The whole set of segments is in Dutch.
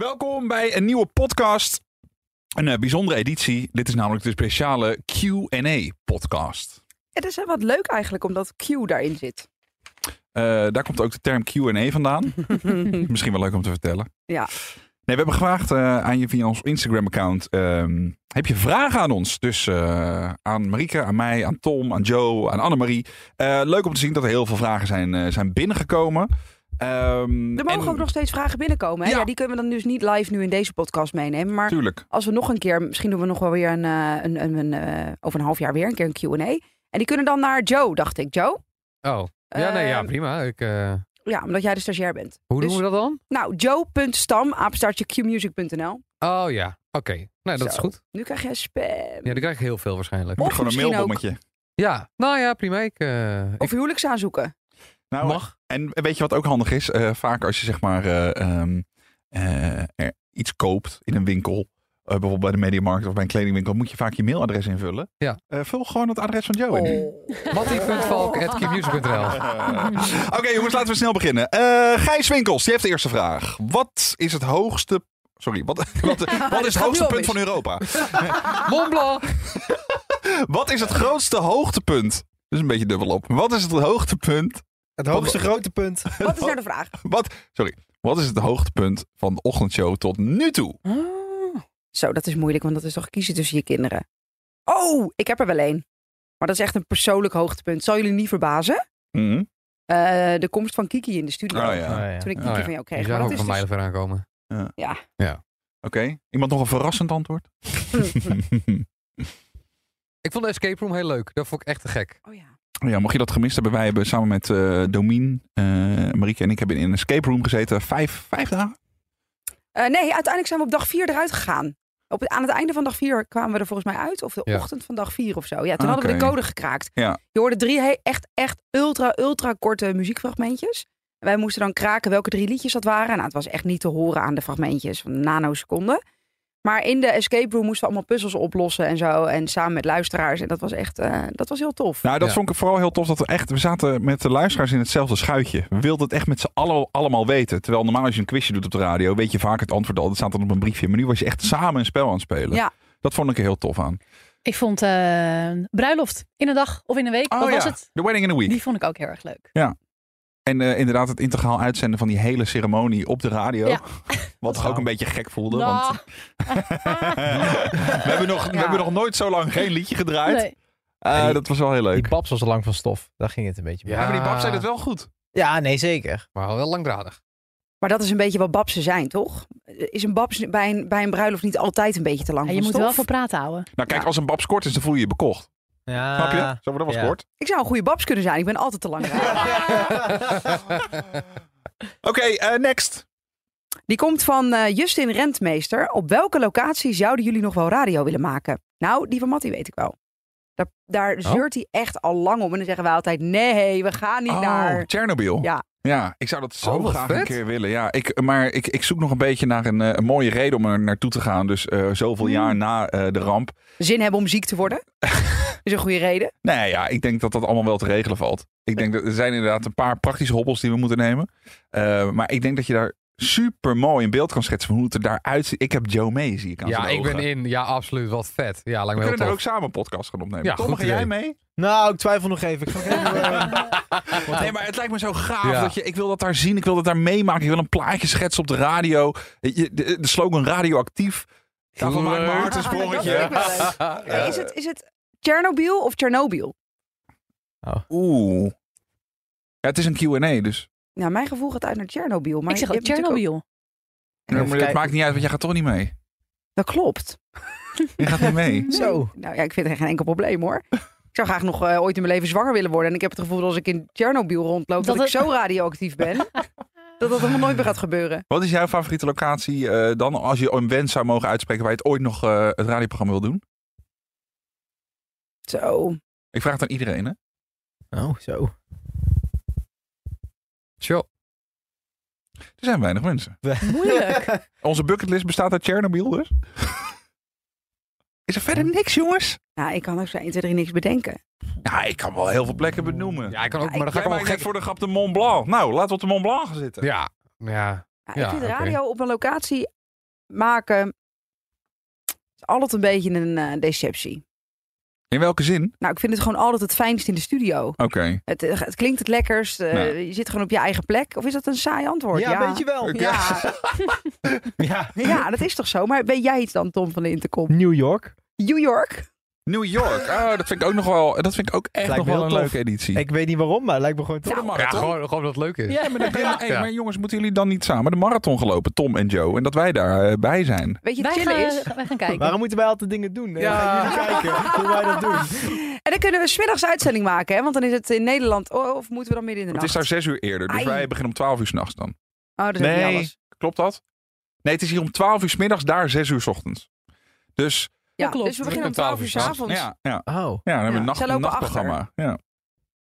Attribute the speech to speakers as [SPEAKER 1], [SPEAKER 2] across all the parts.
[SPEAKER 1] Welkom bij een nieuwe podcast. Een eh, bijzondere editie. Dit is namelijk de speciale Q&A-podcast.
[SPEAKER 2] Het is wel wat leuk eigenlijk, omdat Q daarin zit.
[SPEAKER 1] Eh, daar komt ook de term Q&A vandaan. Misschien wel leuk om te vertellen.
[SPEAKER 2] Ja.
[SPEAKER 1] Nee, we hebben gevraagd eh, aan je via ons Instagram-account. ehm, heb je vragen aan ons? Dus eh, aan Marieke, aan mij, aan Tom, aan Joe, aan Annemarie. Eh leuk om te zien dat er heel veel vragen zijn, eh, zijn binnengekomen. Ehm,
[SPEAKER 2] Er mogen
[SPEAKER 1] en-
[SPEAKER 2] ook nog steeds vragen binnenkomen. Hè?
[SPEAKER 1] Ja.
[SPEAKER 2] Ja. die kunnen we dan dus niet live nu in deze podcast meenemen. Maar
[SPEAKER 1] Tuurlijk.
[SPEAKER 2] als we nog een keer, misschien doen we nog wel weer een, eh, een, een, een, eh, over een half jaar weer een keer een Q&A. En die kunnen dan naar Joe, dacht ik. Joe?
[SPEAKER 3] Oh, ja, nee, ja,
[SPEAKER 2] Ehm,
[SPEAKER 3] prima. Ik, eh,
[SPEAKER 2] Ja, omdat jij de stagiair bent.
[SPEAKER 3] hoe
[SPEAKER 2] dus-
[SPEAKER 3] doen we dat dan?
[SPEAKER 2] Nou, joe.stam, apenstaartje qmusic.nl.
[SPEAKER 3] Oh ja, oké. Nou, dat is
[SPEAKER 2] Zo.
[SPEAKER 3] goed.
[SPEAKER 2] Nu krijg jij spam.
[SPEAKER 3] Ja, dan krijg ik heel veel waarschijnlijk.
[SPEAKER 1] Je moet
[SPEAKER 2] Of
[SPEAKER 1] gewoon een
[SPEAKER 2] misschien ook-
[SPEAKER 1] mailbommetje.
[SPEAKER 3] Ja, nou ja, prima. Ik, eh,
[SPEAKER 2] Of
[SPEAKER 3] ik
[SPEAKER 2] huwelijks aanzoeken.
[SPEAKER 1] Nou,
[SPEAKER 3] mag.
[SPEAKER 1] En weet je wat ook handig is? Eh, vaak als je zeg maar eh, ehm, eh, er iets koopt in een winkel, eh, bijvoorbeeld bij de Mediamarkt of bij een kledingwinkel, moet je vaak je mailadres invullen.
[SPEAKER 3] Ja.
[SPEAKER 1] Eh, vul gewoon het adres van
[SPEAKER 3] Oh,
[SPEAKER 1] Joe in.
[SPEAKER 2] Oh.
[SPEAKER 1] Oh.
[SPEAKER 3] Mattie.valk.qmusic.nl
[SPEAKER 1] Oké jongens, laten we snel beginnen. Eh, Gijs Winkels, die heeft de eerste vraag. Wat is het hoogste... Sorry, wat, wat, wat is het
[SPEAKER 2] gaat nu
[SPEAKER 1] hoogste
[SPEAKER 2] al
[SPEAKER 1] punt
[SPEAKER 2] mis.
[SPEAKER 1] van Europa?
[SPEAKER 3] Mont Blanc.
[SPEAKER 1] Wat is het grootste hoogtepunt? Dat is een beetje dubbel op. Wat is het hoogtepunt?
[SPEAKER 4] Het hoogste grote punt.
[SPEAKER 2] Wat is nou de vraag?
[SPEAKER 1] Wat, sorry, wat is het hoogtepunt van de ochtendshow tot nu toe?
[SPEAKER 2] Oh. Zo, dat is moeilijk, want dat is toch kiezen tussen je kinderen. Oh, ik heb er wel één. Maar dat is echt een persoonlijk hoogtepunt. Zal jullie niet verbazen?
[SPEAKER 1] Mhm.
[SPEAKER 2] Eh, de komst van Kiki in de studio.
[SPEAKER 1] Oh ja.
[SPEAKER 3] Oh, ja.
[SPEAKER 2] Toen ik Kiki
[SPEAKER 3] Oh, ja.
[SPEAKER 2] van jou
[SPEAKER 3] Je
[SPEAKER 2] kreeg.
[SPEAKER 3] zag
[SPEAKER 2] Maar dat
[SPEAKER 3] ook
[SPEAKER 2] is
[SPEAKER 3] van
[SPEAKER 2] dus-
[SPEAKER 3] mij ver aankomen.
[SPEAKER 1] Oké. Iemand nog een verrassend antwoord?
[SPEAKER 3] Ik vond de escape room heel leuk. Dat vond ik echt te gek.
[SPEAKER 2] Oh ja.
[SPEAKER 1] ja, mocht je dat gemist hebben, wij hebben samen met eh Domien, eh Marieke en ik hebben in een escape room gezeten. Vijf, vijf dagen?
[SPEAKER 2] Eh, nee, uiteindelijk zijn we op dag vier eruit gegaan. Op het, aan het einde van dag vier kwamen we er volgens mij uit. Of de
[SPEAKER 3] Ja.
[SPEAKER 2] ochtend van dag vier of zo. Ja, toen
[SPEAKER 1] Ah,
[SPEAKER 2] hadden we de
[SPEAKER 1] oké.
[SPEAKER 2] code gekraakt.
[SPEAKER 1] Ja.
[SPEAKER 2] Je hoorde drie he- echt, echt ultra, ultra korte muziekfragmentjes. En Wij moesten dan kraken welke drie liedjes dat waren. Nou, het was echt niet te horen aan de fragmentjes van nanoseconden. Maar in de escape room moesten we allemaal puzzels oplossen en zo. En samen met luisteraars. En dat was echt, eh, dat was heel tof.
[SPEAKER 1] Nou, dat
[SPEAKER 3] Ja.
[SPEAKER 1] vond ik vooral heel tof. Dat we echt, we zaten met de luisteraars in hetzelfde schuitje. We wilden het echt met z'n allen allemaal weten. Terwijl normaal als je een quizje doet op de radio, weet je vaak het antwoord al. Dat staat dan op een briefje. Maar nu was je echt samen een spel aan het spelen.
[SPEAKER 2] Ja.
[SPEAKER 1] Dat vond ik er heel tof aan.
[SPEAKER 5] Ik vond eh, bruiloft in een dag of in een
[SPEAKER 1] Oh
[SPEAKER 5] week. wat was het?
[SPEAKER 1] The Wedding in a Week.
[SPEAKER 5] Die vond ik ook heel erg leuk.
[SPEAKER 1] En eh, inderdaad het integraal uitzenden van die hele ceremonie op de radio.
[SPEAKER 5] Ja.
[SPEAKER 1] Wat toch ook een beetje gek voelde. Want
[SPEAKER 5] Nou,
[SPEAKER 1] we, hebben nog, we
[SPEAKER 2] Ja.
[SPEAKER 1] hebben nog nooit zo lang geen liedje gedraaid.
[SPEAKER 5] nee.
[SPEAKER 1] Eh,
[SPEAKER 4] Die-
[SPEAKER 1] dat was wel heel leuk.
[SPEAKER 4] Die babs was al lang van stof. Daar ging het een beetje mee.
[SPEAKER 3] Ja.
[SPEAKER 1] Ja, maar die Bab zei dat wel goed.
[SPEAKER 4] Ja, nee, zeker.
[SPEAKER 3] Maar wel langdradig.
[SPEAKER 2] Maar dat is een beetje wat babsen zijn, toch? Is een babs bij een, bij een bruiloft niet altijd een beetje te lang
[SPEAKER 5] Ja, je
[SPEAKER 2] van
[SPEAKER 5] moet
[SPEAKER 2] stof?
[SPEAKER 5] wel voor praten houden.
[SPEAKER 1] Nou kijk,
[SPEAKER 2] Ja.
[SPEAKER 1] als een Babs kort is, dan voel je je bekocht.
[SPEAKER 4] Ja.
[SPEAKER 1] Snap
[SPEAKER 3] Ah.
[SPEAKER 1] je? Zo, maar dat was
[SPEAKER 4] ja.
[SPEAKER 1] kort.
[SPEAKER 2] Ik zou een goede babs kunnen zijn. Ik ben altijd te lang.
[SPEAKER 1] Oké, eh, next.
[SPEAKER 2] Die komt van eh, Justin Rentmeester. Op welke locatie zouden jullie nog wel radio willen maken? Nou, die van Mattie weet ik wel. Daar, daar
[SPEAKER 3] Oh.
[SPEAKER 2] zeurt hij echt al lang om. En dan zeggen wij altijd, nee, we gaan niet
[SPEAKER 1] Oh,
[SPEAKER 2] naar...
[SPEAKER 1] Tsjernobyl.
[SPEAKER 2] Ja.
[SPEAKER 1] Ja, ik zou dat zo
[SPEAKER 3] Oh, wat
[SPEAKER 1] graag een
[SPEAKER 3] vet.
[SPEAKER 1] keer willen. Ja, ik, maar ik, ik zoek nog een beetje naar een, eh, een mooie reden om er naartoe te gaan. Dus eh, zoveel
[SPEAKER 2] Hmm.
[SPEAKER 1] jaar na eh, de ramp.
[SPEAKER 2] Zin hebben om ziek te worden. is een goede reden.
[SPEAKER 1] Nee, ja, ik denk dat dat allemaal wel te regelen valt. Ik denk dat er zijn inderdaad een paar praktische hobbels die we moeten nemen. Eh, maar ik denk dat je daar super mooi in beeld kan schetsen van hoe het er daaruit ziet. Ik heb Joe mee, zie ik aan
[SPEAKER 3] Ja,
[SPEAKER 1] zijn
[SPEAKER 3] ik ben
[SPEAKER 1] ogen.
[SPEAKER 3] in. Ja, absoluut. Wat vet. Ja, lijkt
[SPEAKER 1] We
[SPEAKER 3] me heel
[SPEAKER 1] kunnen daar
[SPEAKER 3] tof.
[SPEAKER 1] ook samen een podcast gaan opnemen.
[SPEAKER 3] Ja,
[SPEAKER 1] Tom,
[SPEAKER 3] goed
[SPEAKER 1] ga jij
[SPEAKER 3] idee.
[SPEAKER 1] mee?
[SPEAKER 4] Nou, ik twijfel nog even. Ik ga nog even eh,
[SPEAKER 1] Nee, maar het lijkt me zo gaaf.
[SPEAKER 3] Ja.
[SPEAKER 1] Dat je, ik wil dat daar zien, ik wil dat daar meemaken. Ik wil een plaatje schetsen op de radio. Je- De, de slogan radioactief. Daarvan maakt mijn
[SPEAKER 3] Leuk.
[SPEAKER 1] hart een
[SPEAKER 2] Ah, dat
[SPEAKER 1] sprongetje.
[SPEAKER 2] wil ik wel eens.
[SPEAKER 1] Ja.
[SPEAKER 2] Is het, is het Tsjernobyl of Tsjernobyl?
[SPEAKER 1] Oeh. Ja, het is een Q&A, dus
[SPEAKER 2] Nou, mijn gevoel gaat uit naar Tsjernobyl. Maar
[SPEAKER 5] ik zeg
[SPEAKER 2] je
[SPEAKER 5] ook
[SPEAKER 2] hebt natuurlijk
[SPEAKER 5] Tsjernobyl.
[SPEAKER 1] Nee, maar het
[SPEAKER 4] kijken.
[SPEAKER 1] maakt niet uit, want jij gaat toch niet mee.
[SPEAKER 2] ook- Dat klopt.
[SPEAKER 1] Je gaat niet mee.
[SPEAKER 4] Zo.
[SPEAKER 2] Nou ja, ik vind er geen enkel probleem hoor. Ik zou graag nog eh, ooit in mijn leven zwanger willen worden. En ik heb het gevoel dat als ik in Tsjernobyl rondloop, dat,
[SPEAKER 5] Dat
[SPEAKER 2] ik
[SPEAKER 5] het-
[SPEAKER 2] zo radioactief ben. dat dat helemaal nooit meer gaat gebeuren.
[SPEAKER 1] Wat is jouw favoriete locatie eh, dan, als je een wens zou mogen uitspreken waar je het ooit nog eh, het radioprogramma wil doen?
[SPEAKER 2] Zo.
[SPEAKER 1] Ik vraag het aan iedereen, hè?
[SPEAKER 4] Oh, zo.
[SPEAKER 3] Zo.
[SPEAKER 1] Er zijn weinig mensen.
[SPEAKER 5] Moeilijk.
[SPEAKER 1] Onze bucketlist bestaat uit Chernobyl, dus. is er verder niks, jongens?
[SPEAKER 2] Nou, ik kan ook zo 1, 2, 3 niks bedenken.
[SPEAKER 1] Nou, ik kan wel heel veel plekken benoemen.
[SPEAKER 3] Ja, ik kan ook.
[SPEAKER 2] Ja,
[SPEAKER 3] Maar dan ga
[SPEAKER 1] Jij
[SPEAKER 3] ik allemaal
[SPEAKER 1] maakt net
[SPEAKER 3] gek.
[SPEAKER 1] voor de grap de Mont Blanc. Nou, laten we op de Mont Blanc gaan zitten.
[SPEAKER 3] Ja. Ja.
[SPEAKER 2] Nou,
[SPEAKER 3] Ja,
[SPEAKER 2] ik vind
[SPEAKER 3] oké.
[SPEAKER 2] radio op een locatie maken. Het is altijd een beetje een eh, deceptie.
[SPEAKER 1] In welke zin?
[SPEAKER 2] Nou, ik vind het gewoon altijd het fijnst in de studio.
[SPEAKER 1] Oké.
[SPEAKER 2] Het, eh, het klinkt het lekkerst. eh,
[SPEAKER 1] Nee.
[SPEAKER 2] Je zit gewoon op je eigen plek. Of is dat een saai antwoord?
[SPEAKER 4] Ja, weet je wel.
[SPEAKER 1] Oké.
[SPEAKER 2] Ja,
[SPEAKER 4] Ja.
[SPEAKER 2] ja, dat is toch zo. Maar ben jij iets dan, Tom van de Intercom?
[SPEAKER 4] New York.
[SPEAKER 2] New York?
[SPEAKER 1] New York. Oh, dat vind ik ook nog wel. Dat vind ik ook echt
[SPEAKER 4] Lijkt
[SPEAKER 1] nog
[SPEAKER 4] me
[SPEAKER 1] wel een
[SPEAKER 4] heel tof.
[SPEAKER 1] leuke editie.
[SPEAKER 4] Ik weet niet waarom, maar het lijkt me gewoon
[SPEAKER 1] Voor
[SPEAKER 4] toch.
[SPEAKER 1] de
[SPEAKER 3] Ja,
[SPEAKER 1] marathon.
[SPEAKER 3] gewoon, gewoon dat het leuk is.
[SPEAKER 5] Ja.
[SPEAKER 1] maar, dat- hey,
[SPEAKER 3] Ja.
[SPEAKER 1] maar jongens, moeten jullie dan niet samen de marathon gelopen, Tom en Joe? En dat wij daar eh, bij zijn.
[SPEAKER 2] Weet je, het
[SPEAKER 5] Wij
[SPEAKER 2] chillen
[SPEAKER 5] gaan, eh,
[SPEAKER 2] is...
[SPEAKER 5] wij gaan kijken.
[SPEAKER 4] Waarom moeten wij altijd dingen doen? Ja.
[SPEAKER 3] Ja.
[SPEAKER 4] Gaan jullie kijken hoe wij dat doen.
[SPEAKER 2] En dan kunnen we smiddags uitzending maken, hè? Want dan is het in Nederland. Oh, of moeten we dan midden in de
[SPEAKER 1] Het
[SPEAKER 2] nacht?
[SPEAKER 1] is daar zes uur eerder, dus
[SPEAKER 2] Ai.
[SPEAKER 1] wij beginnen om twaalf uur s'nachts dan.
[SPEAKER 2] Oh, dat is ook niet
[SPEAKER 4] Nee.
[SPEAKER 2] alles.
[SPEAKER 1] Klopt dat? Nee, het is hier om 12 uur 's middags, daar 6 uur 's ochtends. Dus
[SPEAKER 2] Ja,
[SPEAKER 5] Dat klopt.
[SPEAKER 2] Dus we beginnen om
[SPEAKER 3] Twaalf
[SPEAKER 2] 12 uur
[SPEAKER 3] uur
[SPEAKER 1] ja,
[SPEAKER 2] s'avonds. avonds.
[SPEAKER 1] ja, ja,
[SPEAKER 4] Oh.
[SPEAKER 1] dan hebben we
[SPEAKER 2] Ja,
[SPEAKER 1] een nacht,
[SPEAKER 2] zij lopen
[SPEAKER 1] nachtprogramma. Ja.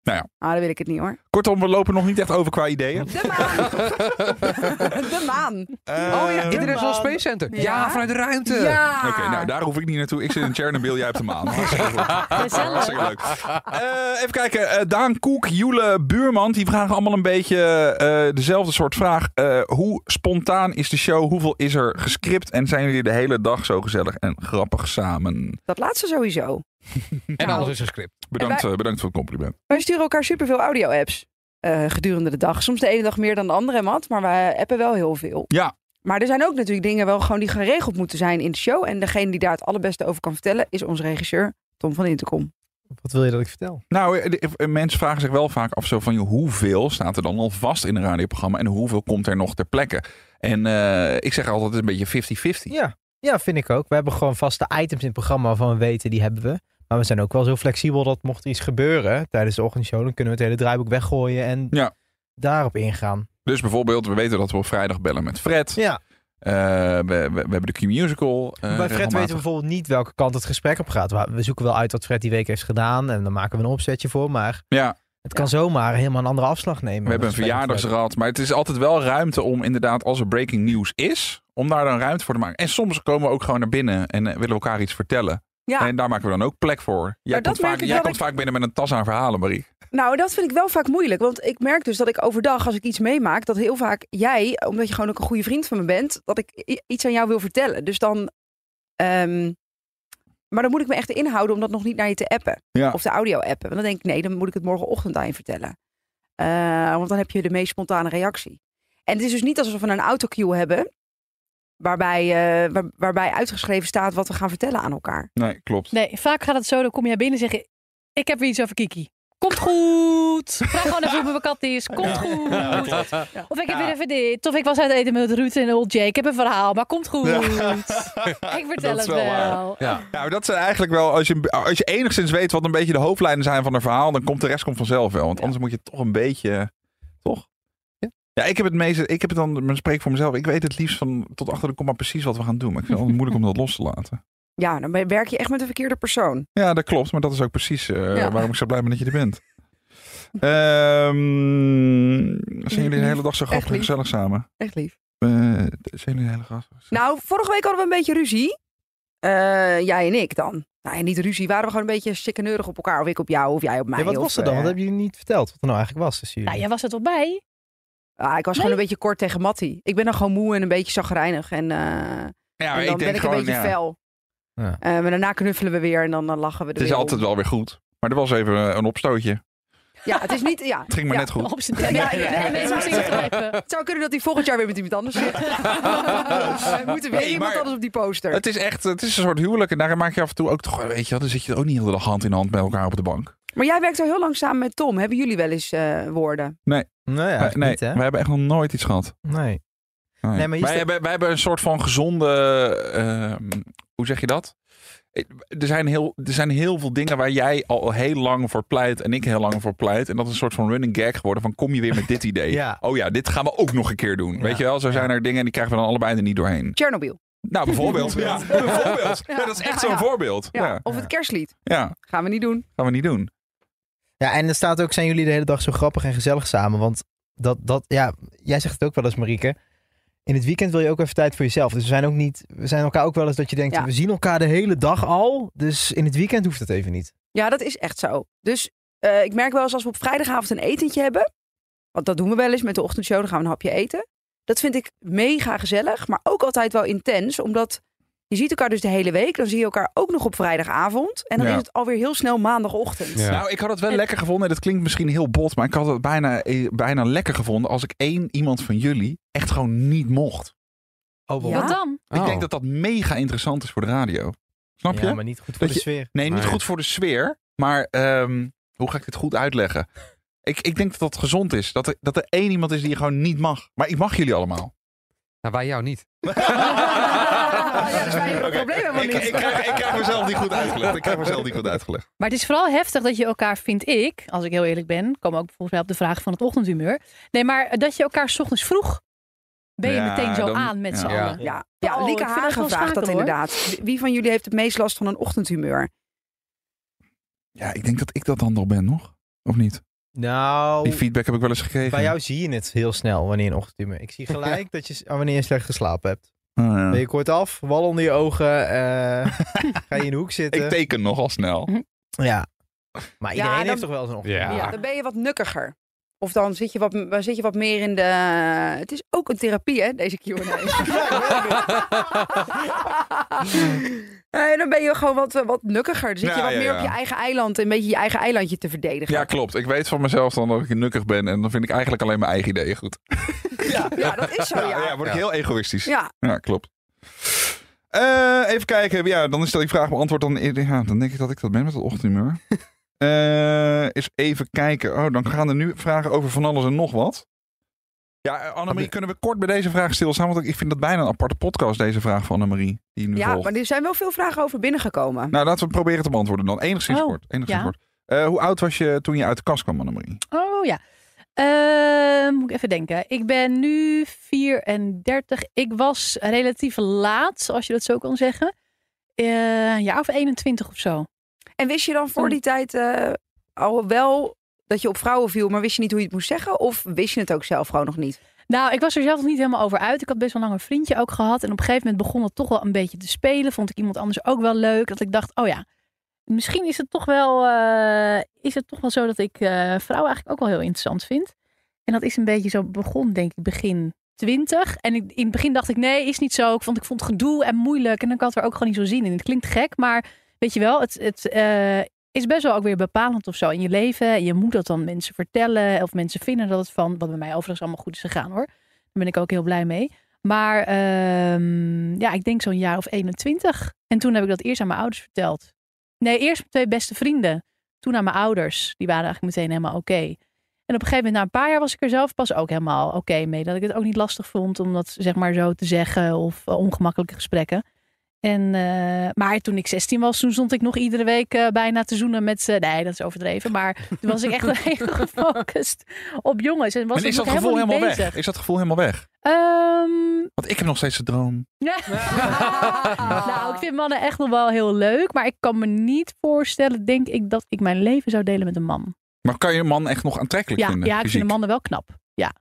[SPEAKER 2] Ah, dan wil ik het niet hoor.
[SPEAKER 1] Kortom, we lopen nog niet echt over qua ideeën.
[SPEAKER 2] De maan! de maan!
[SPEAKER 3] Oh ja,
[SPEAKER 1] Eh,
[SPEAKER 4] dit-
[SPEAKER 3] International
[SPEAKER 4] man.
[SPEAKER 3] Space Center.
[SPEAKER 2] Ja.
[SPEAKER 3] Ja, vanuit de ruimte.
[SPEAKER 2] Ja!
[SPEAKER 1] Oké,
[SPEAKER 2] Ah.
[SPEAKER 1] nou daar hoef ik niet naartoe. Ik zit in Chernobyl, jij hebt de maan. Hartstikke goed.
[SPEAKER 5] Gezellig.
[SPEAKER 1] Hartstikke leuk. Eh, even kijken, eh, Daan Koek, Jule Buurman, die vragen allemaal een beetje eh, dezelfde soort vraag. Eh, hoe spontaan is de show? Hoeveel is er gescript? En zijn jullie de hele dag zo gezellig en grappig samen?
[SPEAKER 2] Dat laatste sowieso.
[SPEAKER 3] En alles is gescript.
[SPEAKER 1] Bedankt,
[SPEAKER 2] En
[SPEAKER 1] eh, bedankt voor het compliment.
[SPEAKER 2] Wij sturen elkaar superveel audio-apps eh, gedurende de dag. Soms de ene dag meer dan de andere, Matt. Maar wij appen wel heel veel.
[SPEAKER 1] Ja.
[SPEAKER 2] Maar er zijn ook natuurlijk dingen wel gewoon die geregeld moeten zijn in de show. En degene die daar het allerbeste over kan vertellen is onze regisseur Tom van Intercom.
[SPEAKER 4] Wat wil je dat ik vertel?
[SPEAKER 1] Nou, eh, de- eh, mensen vragen zich wel vaak af zo van joh, hoeveel staat er dan al vast in een radioprogramma en hoeveel komt er nog ter plekke? En eh, ik zeg altijd een beetje 50-50.
[SPEAKER 4] Ja. ja, vind ik ook. We hebben gewoon vaste items in het programma waarvan we weten, die hebben we. Maar we zijn ook wel zo flexibel dat mocht er iets gebeuren tijdens de ochtendshow, dan kunnen we het hele draaiboek weggooien en
[SPEAKER 1] Ja.
[SPEAKER 4] daarop ingaan.
[SPEAKER 1] Dus bijvoorbeeld, we weten dat we op vrijdag bellen met Fred.
[SPEAKER 4] Ja,
[SPEAKER 1] Eh, we, we, we hebben de Q-musical. eh,
[SPEAKER 4] bij Fred weten we
[SPEAKER 1] regelmatig.
[SPEAKER 4] bijvoorbeeld niet welke kant het gesprek op gaat. We- We zoeken wel uit wat Fred die week heeft gedaan en dan maken we een opzetje voor, maar
[SPEAKER 1] Ja,
[SPEAKER 4] het kan zomaar helemaal een andere afslag nemen.
[SPEAKER 1] we hebben een
[SPEAKER 4] Dat is fijn.
[SPEAKER 1] verjaardagsrad. Maar het is altijd wel ruimte om inderdaad, als er breaking nieuws is, om daar dan ruimte voor te maken. En soms komen we ook gewoon naar binnen en eh, willen we elkaar iets vertellen.
[SPEAKER 2] Ja.
[SPEAKER 1] En daar maken we dan ook plek voor. Jij
[SPEAKER 2] dat
[SPEAKER 1] komt,
[SPEAKER 2] merk
[SPEAKER 1] vaak,
[SPEAKER 2] ik
[SPEAKER 1] jij
[SPEAKER 2] wel
[SPEAKER 1] komt vaak binnen met een tas aan verhalen, Marie.
[SPEAKER 2] Nou, dat vind ik wel vaak moeilijk. Want ik merk dus dat ik overdag, als ik iets meemaak, dat heel vaak jij, omdat je gewoon ook een goede vriend van me bent, dat ik i- iets aan jou wil vertellen. Dus dan. ehm, maar dan moet ik me echt inhouden om dat nog niet naar je te appen.
[SPEAKER 1] Ja.
[SPEAKER 2] Of de audio appen. Want dan denk ik, nee, dan moet ik het morgenochtend aan je vertellen. Eh, want dan heb je de meest spontane reactie. En het is dus niet alsof we een autocue hebben. Waarbij, eh, waar- waarbij uitgeschreven staat wat we gaan vertellen aan elkaar.
[SPEAKER 1] Nee, klopt.
[SPEAKER 5] Nee, vaak gaat het zo, dan kom jij binnen en zeg je... Ik heb weer iets over Kiki. Komt goed. Vraag gewoon even hoe mijn kat is. Komt goed. Of ik heb weer even dit. Of ik was uit eten met Ruud en Old Jake. Ik heb een verhaal, maar komt goed. Ik vertel
[SPEAKER 1] Dat is
[SPEAKER 5] het
[SPEAKER 1] wel waar.
[SPEAKER 5] wel.
[SPEAKER 3] Ja.
[SPEAKER 1] Nou, dat zijn eigenlijk wel, als je, als je enigszins weet wat een beetje de hoofdlijnen zijn van een verhaal, dan komt de rest komt vanzelf wel. Want anders moet je toch een beetje, toch?
[SPEAKER 3] Ja.
[SPEAKER 1] Ja, ik heb het meeste, ik heb het dan, maar spreek voor mezelf, ik weet het liefst van tot achter de komma precies wat we gaan doen. Maar ik vind het altijd moeilijk om dat los te laten.
[SPEAKER 2] Ja, dan ben- werk je echt met de verkeerde persoon.
[SPEAKER 1] Ja, dat klopt, maar dat is ook precies eh,
[SPEAKER 2] Ja.
[SPEAKER 1] waarom ik zo blij ben dat je er bent. Ehm, zijn jullie de hele dag zo grappig en
[SPEAKER 2] lief.
[SPEAKER 1] gezellig samen?
[SPEAKER 2] Echt lief.
[SPEAKER 1] Eh, zijn jullie de hele grappig?
[SPEAKER 2] Nou, vorige week hadden we een beetje ruzie. Eh, jij en ik dan. Nou, en niet ruzie, waren we gewoon een beetje sikkeneurig op elkaar. Of ik op jou, of jij op mij.
[SPEAKER 4] Ja, wat
[SPEAKER 2] of,
[SPEAKER 4] was er dan?
[SPEAKER 2] eh,
[SPEAKER 4] Wat hebben jullie niet verteld? Wat er nou eigenlijk was? tussen
[SPEAKER 5] Nou,
[SPEAKER 4] jullie?
[SPEAKER 5] jij was er toch bij?
[SPEAKER 2] ah, ik was
[SPEAKER 5] Nee.
[SPEAKER 2] gewoon een beetje kort tegen Matty. Ik ben dan gewoon moe en een beetje chagrijnig. En, eh,
[SPEAKER 1] ja,
[SPEAKER 2] en
[SPEAKER 1] maar
[SPEAKER 2] dan ben ik een beetje
[SPEAKER 1] ja,
[SPEAKER 2] fel.
[SPEAKER 4] Ja.
[SPEAKER 2] Eh, maar daarna knuffelen we weer en dan, dan lachen we er
[SPEAKER 1] Het is
[SPEAKER 2] weer om.
[SPEAKER 1] altijd wel weer goed. Maar er was even eh, een opstootje.
[SPEAKER 2] Ja, het is niet... Ja.
[SPEAKER 1] Het ging maar
[SPEAKER 2] Ja.
[SPEAKER 1] net goed.
[SPEAKER 5] Op zijn tent.
[SPEAKER 2] Ja, ja, ja.
[SPEAKER 5] En mensen moesten niet grijpen.
[SPEAKER 2] Het zou kunnen dat hij volgend jaar weer met iemand anders zit. we moeten weer
[SPEAKER 1] Nee,
[SPEAKER 2] iemand
[SPEAKER 1] maar-
[SPEAKER 2] anders op die poster.
[SPEAKER 1] Het is echt, het is een soort huwelijk. En daar maak je af en toe ook toch, weet je, wel, dan zit je ook niet heel de dag hand in hand met elkaar op de bank.
[SPEAKER 2] Maar jij werkt al heel lang samen met Tom. Hebben jullie wel eens eh, woorden?
[SPEAKER 4] Nou ja,
[SPEAKER 1] Wij- nee,
[SPEAKER 4] eigenlijk niet hè?
[SPEAKER 1] wij hebben echt nog nooit iets gehad.
[SPEAKER 4] Nee.
[SPEAKER 1] Nee.
[SPEAKER 4] Nee, maar je
[SPEAKER 1] wij,
[SPEAKER 4] sta-
[SPEAKER 1] hebben, wij hebben een soort van gezonde, ehm, hoe zeg je dat? Eh, Er zijn, heel, er zijn heel veel dingen waar jij al heel lang voor pleit en ik heel lang voor pleit. En dat is een soort van running gag geworden van kom je weer met dit idee?
[SPEAKER 4] Ja.
[SPEAKER 1] Oh ja, dit gaan we ook nog een keer doen.
[SPEAKER 4] Ja.
[SPEAKER 1] Weet je wel, zo zijn er dingen en die krijgen we dan allebei er niet doorheen.
[SPEAKER 2] Chernobyl.
[SPEAKER 1] Nou, bijvoorbeeld. ja, bijvoorbeeld.
[SPEAKER 2] Ja.
[SPEAKER 1] Ja, dat is echt
[SPEAKER 2] Ja,
[SPEAKER 1] zo'n
[SPEAKER 2] ja.
[SPEAKER 1] voorbeeld.
[SPEAKER 2] Ja.
[SPEAKER 1] Ja.
[SPEAKER 2] Of het kerstlied.
[SPEAKER 1] ja,
[SPEAKER 2] Gaan we niet doen.
[SPEAKER 1] gaan we niet doen.
[SPEAKER 4] Ja, en er staat ook, zijn jullie de hele dag zo grappig en gezellig samen? Want dat, dat ja, jij zegt het ook wel eens, Marieke. In het weekend wil je ook even tijd voor jezelf. Dus we zijn ook niet, we zijn elkaar ook wel eens dat je denkt,
[SPEAKER 2] Ja.
[SPEAKER 4] we zien elkaar de hele dag al. Dus in het weekend hoeft het even niet.
[SPEAKER 2] Ja, dat is echt zo. Dus eh, ik merk wel eens als we op vrijdagavond een etentje hebben. Want dat doen we wel eens met de ochtendshow. Dan gaan we een hapje eten. Dat vind ik mega gezellig, maar ook altijd wel intens. Omdat je ziet elkaar dus de hele week. Dan zie je elkaar ook nog op vrijdagavond. En dan
[SPEAKER 1] Ja.
[SPEAKER 2] is het alweer heel snel maandagochtend.
[SPEAKER 3] Ja.
[SPEAKER 1] Nou, ik had het wel
[SPEAKER 2] En-
[SPEAKER 1] lekker gevonden. En dat klinkt misschien heel bot, maar ik had het bijna, eh, bijna lekker gevonden als ik één iemand van jullie echt gewoon niet mocht.
[SPEAKER 4] Oh,
[SPEAKER 2] wow. Ja?
[SPEAKER 5] Wat dan?
[SPEAKER 1] Ik denk dat dat mega interessant is voor de radio. Snap je?
[SPEAKER 4] Ja, maar niet goed voor
[SPEAKER 1] Dat
[SPEAKER 4] de sfeer.
[SPEAKER 1] Nee, niet
[SPEAKER 3] Nee.
[SPEAKER 1] goed voor de sfeer, maar ehm, hoe ga ik dit goed uitleggen? Ik, ik denk dat dat gezond is. Dat er, dat er één iemand is die je gewoon niet mag. Maar ik mag jullie allemaal.
[SPEAKER 3] Nou, wij jou niet.
[SPEAKER 2] Ja, dat is mijn
[SPEAKER 1] Oké.
[SPEAKER 2] probleem helemaal
[SPEAKER 1] Ik,
[SPEAKER 2] niet.
[SPEAKER 1] ik, krijg, ik krijg mezelf niet goed uitgelegd. Ik krijg mezelf niet goed uitgelegd.
[SPEAKER 5] Maar het is vooral heftig dat je elkaar, vind ik, als ik heel eerlijk ben, kom ook volgens mij op de vraag van het ochtendhumeur. Nee, maar dat je elkaar 's ochtends vroeg ben je
[SPEAKER 1] Ja,
[SPEAKER 5] meteen zo
[SPEAKER 1] dan-
[SPEAKER 5] aan met z'n
[SPEAKER 3] ja.
[SPEAKER 5] allen.
[SPEAKER 2] Ja, ja
[SPEAKER 5] Oh,
[SPEAKER 2] Lieke
[SPEAKER 5] ik vind dat
[SPEAKER 2] Hagen
[SPEAKER 5] wel
[SPEAKER 2] vraagt dat
[SPEAKER 5] schakel, hoor.
[SPEAKER 2] inderdaad. Wie- Wie van jullie heeft het meest last van een ochtendhumeur?
[SPEAKER 1] Ja, ik denk dat ik dat dan nog ben, nog? Of niet? Die
[SPEAKER 4] Nou,
[SPEAKER 1] feedback heb ik wel eens gekregen.
[SPEAKER 4] bij jou zie je het heel snel wanneer een ochtendhumeur. Ik zie gelijk dat je, s- wanneer je slecht geslapen hebt.
[SPEAKER 1] Ah, ja.
[SPEAKER 4] Ben je kort af, wal onder je ogen, eh, ga je in de hoek zitten.
[SPEAKER 1] Ik teken nogal snel.
[SPEAKER 4] Ja. Maar
[SPEAKER 2] Ja,
[SPEAKER 4] iedereen
[SPEAKER 2] dan-
[SPEAKER 4] heeft toch wel zo'n ochtend.
[SPEAKER 3] Ja.
[SPEAKER 5] Ja.
[SPEAKER 2] Dan ben je wat nukkiger. Of dan zit je wat, dan zit je wat meer in de... Het is ook een therapie, hè, deze Q&A. Eh, dan ben je gewoon wat, wat nukkiger. Dan zit
[SPEAKER 1] Ja,
[SPEAKER 2] je wat
[SPEAKER 1] ja,
[SPEAKER 2] meer
[SPEAKER 1] ja.
[SPEAKER 2] op je eigen eiland. en Een beetje je eigen eilandje te verdedigen.
[SPEAKER 1] Ja, klopt. Ik weet van mezelf dan dat ik nukkig ben. En dan vind ik eigenlijk alleen mijn eigen ideeën goed.
[SPEAKER 2] Ja, dat is zo, Oh, ja. Ja,
[SPEAKER 1] word ik heel egoïstisch.
[SPEAKER 2] ja.
[SPEAKER 1] Ja, klopt. Eh, even kijken. Ja, dan stel ik vraag beantwoord. Dan, ja, dan denk ik dat ik dat ben met het ochtendhumeur. Eh eens even kijken. Oh, dan gaan er nu vragen over van alles en nog wat. Ja, eh, Annemarie, kunnen we kort bij deze vraag stilstaan? Want ik vind dat bijna een aparte podcast, deze vraag van Annemarie. Die nu volgt.
[SPEAKER 2] maar er zijn wel veel vragen over binnengekomen.
[SPEAKER 1] Nou, laten we proberen te beantwoorden dan. Enigszins
[SPEAKER 5] Oh,
[SPEAKER 1] kort. Enigszins
[SPEAKER 5] ja.
[SPEAKER 1] kort. Eh, hoe oud was je toen je uit de kast kwam, Annemarie?
[SPEAKER 5] Oh ja. Ehm, moet ik even denken. Ik ben nu 34. Ik was relatief laat, als je dat zo kan zeggen. Eh ja, of 21 of zo.
[SPEAKER 2] En wist je dan
[SPEAKER 1] Oh.
[SPEAKER 2] voor die tijd eh, al wel dat je op vrouwen viel, maar wist je niet hoe je het moest zeggen? Of wist je het ook zelf gewoon nog niet?
[SPEAKER 5] Nou, ik was er zelf nog niet helemaal over uit. Ik had best wel lang een vriendje ook gehad. En op een gegeven moment begon het toch wel een beetje te spelen. Vond ik iemand anders ook wel leuk. Dat ik dacht, oh ja, misschien is het toch wel, eh, is het toch wel zo dat ik eh, vrouwen eigenlijk ook wel heel interessant vind. En dat is een beetje zo begon, denk ik, begin twintig. En ik, in het begin dacht ik, nee, is niet zo. Ik vond, ik vond het gedoe en moeilijk. En ik had er ook gewoon niet zo zin in. Het klinkt gek, maar weet je wel, het, het eh, is best wel ook weer bepalend of zo in je leven. En je moet dat dan mensen vertellen. Of mensen vinden dat het van, wat bij mij overigens allemaal goed is gegaan hoor. Daar ben ik ook heel blij mee. Maar ehm, ja, ik denk zo'n jaar of 21. En toen heb ik dat eerst aan mijn ouders verteld. Nee, eerst mijn twee beste vrienden. Toen aan mijn ouders. Die waren eigenlijk meteen helemaal oké. En op een gegeven moment, na een paar jaar, was ik er zelf pas ook helemaal oké mee. Dat ik het ook niet lastig vond om dat zeg maar zo te zeggen. Of eh, ongemakkelijke gesprekken. En, eh, maar toen ik 16 was, toen stond ik nog iedere week eh, bijna te zoenen met... eh, nee, dat is overdreven. Maar toen was ik echt heel gefocust op jongens. En was
[SPEAKER 1] en
[SPEAKER 5] ik
[SPEAKER 1] is
[SPEAKER 5] nog
[SPEAKER 1] dat gevoel
[SPEAKER 5] niet
[SPEAKER 1] helemaal
[SPEAKER 5] bezig.
[SPEAKER 1] weg? Is dat gevoel helemaal weg?
[SPEAKER 5] Ehm,
[SPEAKER 1] Want ik heb nog steeds de droom.
[SPEAKER 5] ja. nou, ik vind mannen echt nog wel heel leuk. Maar ik kan me niet voorstellen, denk ik, dat ik mijn leven zou delen met een man.
[SPEAKER 1] Maar kan je een man echt nog aantrekkelijk
[SPEAKER 5] ja,
[SPEAKER 1] vinden?
[SPEAKER 5] ja, ik vind de
[SPEAKER 1] fysiek?
[SPEAKER 5] mannen wel knap. Ja,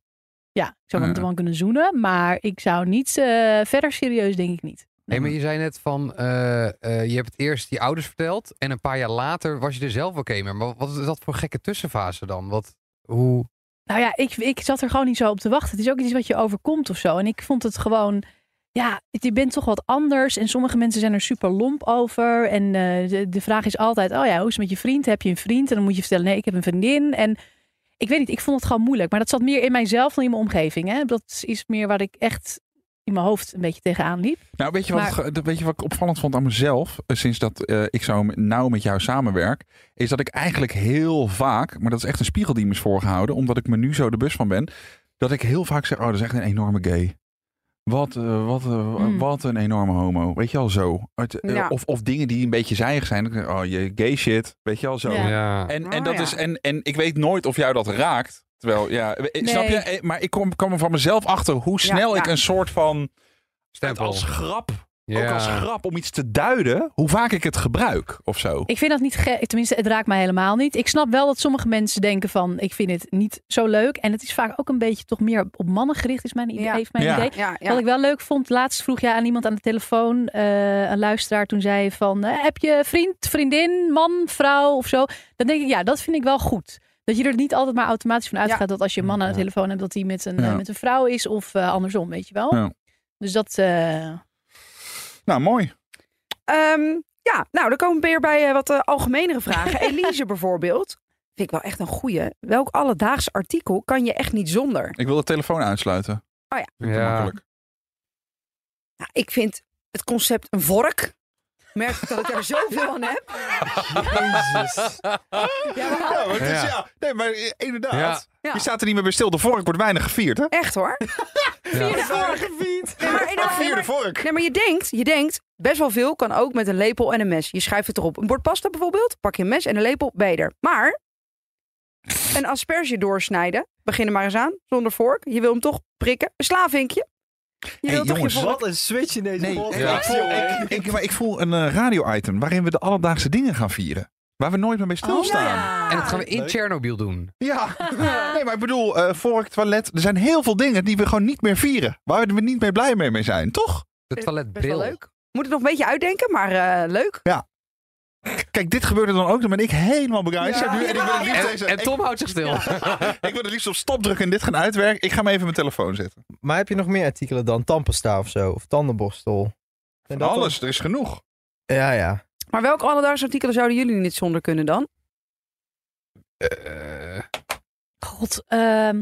[SPEAKER 5] ja ik zou wel met
[SPEAKER 1] Ja.
[SPEAKER 5] een man kunnen zoenen. Maar ik zou niet eh, verder serieus, denk ik niet.
[SPEAKER 3] Nee, maar je zei net van, eh, eh, je hebt het eerst je ouders verteld en een paar jaar later was je er zelf oké mee. Maar wat is dat voor gekke tussenfase dan? Wat, hoe?
[SPEAKER 5] Nou ja, ik, ik zat er gewoon niet zo op te wachten. Het is ook iets wat je overkomt of zo. En ik vond het gewoon, ja, het- je bent toch wat anders. En sommige mensen zijn er super lomp over. En eh, de, de vraag is altijd, oh ja, hoe is het met je vriend? Heb je een vriend? En dan moet je vertellen, nee, ik heb een vriendin. En ik weet niet, ik vond het gewoon moeilijk. Maar dat zat meer in mijzelf dan in mijn omgeving. Hè? Dat is meer waar ik echt in mijn hoofd een beetje tegenaan liep.
[SPEAKER 1] Nou, weet je, wat,
[SPEAKER 5] Maar-
[SPEAKER 1] het ge- de- weet je wat ik opvallend vond aan mezelf, eh, sinds dat eh, ik zo m- nauw met jou samenwerk, is dat ik eigenlijk heel vaak, maar dat is echt een spiegel die me is voorgehouden, omdat ik me nu zo de bus van ben, dat ik heel vaak zeg, oh, dat is echt een enorme gay. Wat, eh, wat, eh,
[SPEAKER 5] Hmm.
[SPEAKER 1] wat een enorme homo. Weet je al zo. Het, eh,
[SPEAKER 2] Ja.
[SPEAKER 1] of, of dingen die een beetje zijig zijn. Ik zeg, Oh, je gay shit. Weet je al zo.
[SPEAKER 5] Ja.
[SPEAKER 1] En, en,
[SPEAKER 2] Ah,
[SPEAKER 1] dat
[SPEAKER 2] ja.
[SPEAKER 1] is, en, en ik weet nooit of jou dat raakt. Terwijl, ja, eh, snap je? Eh, Maar ik kom, kwam er van mezelf achter hoe snel
[SPEAKER 2] ja.
[SPEAKER 1] ik een soort van... Het
[SPEAKER 3] Stempel.
[SPEAKER 1] als grap
[SPEAKER 3] Ja.
[SPEAKER 1] ook als grap om iets te duiden, hoe vaak ik het gebruik of zo.
[SPEAKER 5] Ik vind dat niet gek. Tenminste, het raakt mij helemaal niet. Ik snap wel dat sommige mensen denken van... ik vind het niet zo leuk. En het is vaak ook een beetje toch meer op mannen gericht... is mijn, idee-
[SPEAKER 2] Ja.
[SPEAKER 5] heeft mijn
[SPEAKER 1] Ja.
[SPEAKER 5] idee.
[SPEAKER 2] Ja, ja.
[SPEAKER 5] Wat ik wel leuk vond, laatst vroeg jij aan iemand aan de telefoon, eh, een luisteraar, toen zei je van, eh, heb je vriend, vriendin, man, vrouw of zo? Dan denk ik, ja, dat vind ik wel goed. Dat je er niet altijd maar automatisch van uitgaat dat als je een man aan de
[SPEAKER 3] Ja.
[SPEAKER 5] telefoon hebt, dat hij met een,
[SPEAKER 1] Ja.
[SPEAKER 5] eh, met een vrouw is of eh, andersom, weet je wel.
[SPEAKER 1] Ja.
[SPEAKER 5] Dus dat. eh,
[SPEAKER 1] Nou, mooi.
[SPEAKER 2] Ehm, ja, nou, dan komen we weer bij eh, wat eh, algemenere vragen. Elise bijvoorbeeld. Vind ik wel echt een goeie. Welk alledaags artikel kan je echt niet zonder?
[SPEAKER 1] Ik wil de telefoon uitsluiten.
[SPEAKER 2] Oh ja.
[SPEAKER 1] Vind ik
[SPEAKER 3] Ja.
[SPEAKER 1] makkelijk.
[SPEAKER 2] Nou, ik vind het concept een vork. Merk ik dat ik er zoveel aan heb.
[SPEAKER 4] Jezus.
[SPEAKER 2] Ja, maar
[SPEAKER 1] Ja, maar het is,
[SPEAKER 3] Ja.
[SPEAKER 1] ja. Nee, maar eh, inderdaad.
[SPEAKER 2] Ja.
[SPEAKER 1] Je staat er niet meer bij stil. De vork wordt weinig gevierd, hè?
[SPEAKER 2] echt hoor.
[SPEAKER 3] Ja.
[SPEAKER 2] Nee, maar, nee, maar-
[SPEAKER 1] Vierde vork.
[SPEAKER 2] nee, maar je denkt, je denkt, best wel veel kan ook met een lepel en een mes. Je schuift het erop. Een bord pasta bijvoorbeeld, pak je een mes en een lepel, beter. Maar een asperge doorsnijden, begin er maar eens aan, zonder vork. Je wil hem toch prikken. Een slaavinkje. Je
[SPEAKER 1] Hey,
[SPEAKER 2] wil toch je
[SPEAKER 1] jongens,
[SPEAKER 2] vork
[SPEAKER 4] Wat een switch in deze
[SPEAKER 1] Nee,
[SPEAKER 4] podcast,
[SPEAKER 1] ik, voel,
[SPEAKER 4] jongen.
[SPEAKER 1] ik, ik- maar ik voel een eh, radio-item waarin we de alledaagse dingen gaan vieren. Waar we nooit meer bij
[SPEAKER 2] Oh,
[SPEAKER 1] stilstaan.
[SPEAKER 3] En dat gaan we in
[SPEAKER 4] Leuk.
[SPEAKER 3] Tsjernobyl doen.
[SPEAKER 1] Ja, nee, maar ik bedoel, eh, vork, toilet. Er zijn heel veel dingen die we gewoon niet meer vieren. Waar we niet meer blij mee mee zijn, toch?
[SPEAKER 3] De
[SPEAKER 2] Best- Best wel
[SPEAKER 3] toiletbril.
[SPEAKER 2] leuk. Moet het nog een beetje uitdenken, maar eh, leuk.
[SPEAKER 1] Kijk, dit gebeurde dan ook. Dan ben ik helemaal begeisterd
[SPEAKER 2] Ja.
[SPEAKER 1] nu. En ik wil het liefst,
[SPEAKER 3] En,
[SPEAKER 1] deze,
[SPEAKER 3] en
[SPEAKER 1] ik-
[SPEAKER 3] Tom houdt zich stil.
[SPEAKER 1] ik wil het liefst op stop drukken en dit gaan uitwerken. Ik ga hem even mijn telefoon zetten.
[SPEAKER 4] Maar heb je nog meer artikelen dan tandpasta of zo? Of tandenborstel? En dat
[SPEAKER 1] Alles, er is genoeg.
[SPEAKER 4] dan- Ja, ja.
[SPEAKER 2] Maar welke alledaagse artikelen zouden jullie niet zonder kunnen dan?
[SPEAKER 3] Eh,
[SPEAKER 5] God, ehm,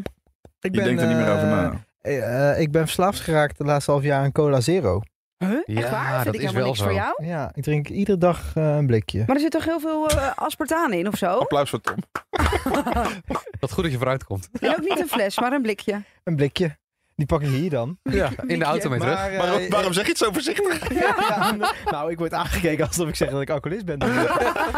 [SPEAKER 4] Ik
[SPEAKER 1] Je denkt er niet meer over
[SPEAKER 4] eh,
[SPEAKER 1] na.
[SPEAKER 4] eh, eh, ik ben verslaafd geraakt de laatste half jaar aan Cola Zero.
[SPEAKER 2] Echt
[SPEAKER 3] Ja,
[SPEAKER 2] waar? Vind
[SPEAKER 3] dat
[SPEAKER 2] ik
[SPEAKER 3] is
[SPEAKER 2] helemaal
[SPEAKER 3] wel
[SPEAKER 2] niks
[SPEAKER 3] zo.
[SPEAKER 2] voor jou.
[SPEAKER 4] Ja, ik drink iedere dag eh, een blikje.
[SPEAKER 2] Maar er zit toch heel veel eh, aspartaan in of zo?
[SPEAKER 1] Applaus voor Tom.
[SPEAKER 3] wat goed dat je vooruit komt.
[SPEAKER 2] En ook niet een fles, maar een blikje.
[SPEAKER 4] Een blikje. Die pak ik hier dan.
[SPEAKER 3] in de auto mee terug.
[SPEAKER 4] eh,
[SPEAKER 1] Waarom, waarom zeg je het zo voorzichtig?
[SPEAKER 4] Ja, nou, ik word aangekeken alsof ik zeg dat ik alcoholist ben.
[SPEAKER 2] Ah,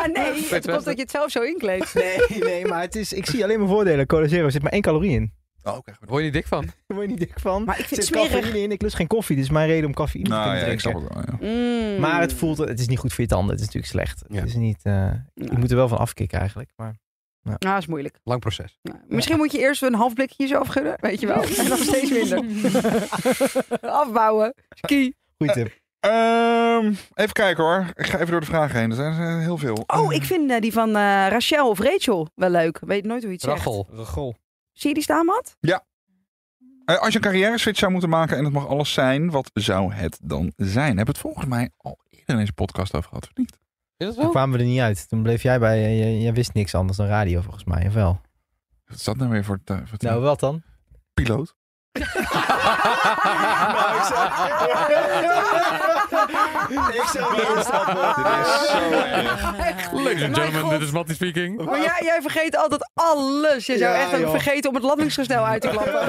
[SPEAKER 2] nee,
[SPEAKER 3] Vet,
[SPEAKER 2] het komt
[SPEAKER 3] vet.
[SPEAKER 2] dat je het zelf zo inkleedt.
[SPEAKER 4] Nee, nee, maar het is, ik zie alleen maar voordelen. Cola Zero zit maar één calorie in.
[SPEAKER 1] Oh, oké.
[SPEAKER 3] Word je niet dik van?
[SPEAKER 4] Daar word je niet dik van.
[SPEAKER 2] Maar ik vind
[SPEAKER 4] Er
[SPEAKER 2] het
[SPEAKER 4] zit
[SPEAKER 2] smerig.
[SPEAKER 4] cafeïne in. Ik lust geen koffie. Dit is mijn reden om cafeïne te
[SPEAKER 1] Nou
[SPEAKER 4] kunnen
[SPEAKER 1] ja, ik
[SPEAKER 4] drinken.
[SPEAKER 1] snap het wel. ja.
[SPEAKER 2] Mm.
[SPEAKER 4] Maar het voelt, het is niet goed voor je tanden. Het is natuurlijk slecht.
[SPEAKER 3] Ja.
[SPEAKER 4] Het is niet, eh, Je
[SPEAKER 2] Nou,
[SPEAKER 4] moet er wel van afkicken eigenlijk. Maar...
[SPEAKER 2] nou, dat is moeilijk.
[SPEAKER 3] Lang proces.
[SPEAKER 2] Nou, misschien moet je eerst een half blikje jezelf gunnen, weet je wel. En dan steeds minder. Afbouwen. Ski.
[SPEAKER 4] Goeie tip.
[SPEAKER 1] Ehm, even kijken hoor. Ik ga even door de vragen heen. Er zijn eh, heel veel.
[SPEAKER 2] Oh, ik vind eh, die van eh, Rachel of Rachel wel leuk. Weet nooit hoe je het zegt.
[SPEAKER 3] Rachel.
[SPEAKER 4] Ragol.
[SPEAKER 2] Zie je die staan, Matt?
[SPEAKER 1] Eh, als je een carrière switch zou moeten maken en het mag alles zijn, wat zou het dan zijn? Heb het volgens mij al eerder in deze podcast over gehad, of niet?
[SPEAKER 3] Is dat
[SPEAKER 4] Toen
[SPEAKER 3] zo?
[SPEAKER 4] kwamen we er niet uit. Toen bleef jij bij, eh, jij, jij wist niks anders dan radio volgens mij, of wel?
[SPEAKER 1] Wat is dat nou weer voor, het, eh, voor het-
[SPEAKER 4] Nou, wat dan?
[SPEAKER 1] piloot?
[SPEAKER 4] Nou, ik zou- Ik zou niet instappen.
[SPEAKER 1] Dit is zo
[SPEAKER 2] Echt. Ladies and gentlemen, God. dit is
[SPEAKER 3] Matty speaking.
[SPEAKER 2] Maar jij, jij vergeet altijd alles. Je zou
[SPEAKER 4] Ja,
[SPEAKER 2] echt hebben
[SPEAKER 4] joh.
[SPEAKER 2] vergeten om het landingsgestel uit te klappen.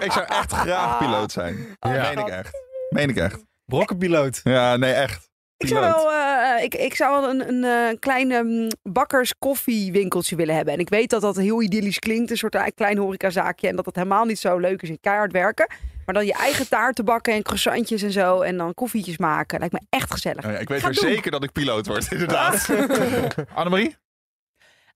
[SPEAKER 1] Ik zou echt graag piloot zijn.
[SPEAKER 3] Ja.
[SPEAKER 1] Meen ik echt. Meen ik echt.
[SPEAKER 4] Brokkenpiloot.
[SPEAKER 1] Ja, nee, echt.
[SPEAKER 2] Ik zou
[SPEAKER 1] Piloot.
[SPEAKER 2] wel, eh, ik, ik zou wel een, een eh, klein ehm, bakkers koffiewinkeltje willen hebben. En ik weet dat dat heel idyllisch klinkt, een soort eh, klein horecazaakje. En dat het helemaal niet zo leuk is in keihard werken. Maar dan je eigen taarten bakken en croissantjes en zo. En dan koffietjes maken. Lijkt me echt gezellig.
[SPEAKER 1] Oh ja, ik weet
[SPEAKER 2] Ga
[SPEAKER 1] weer
[SPEAKER 2] doen.
[SPEAKER 1] zeker dat ik piloot word, inderdaad. Annemarie?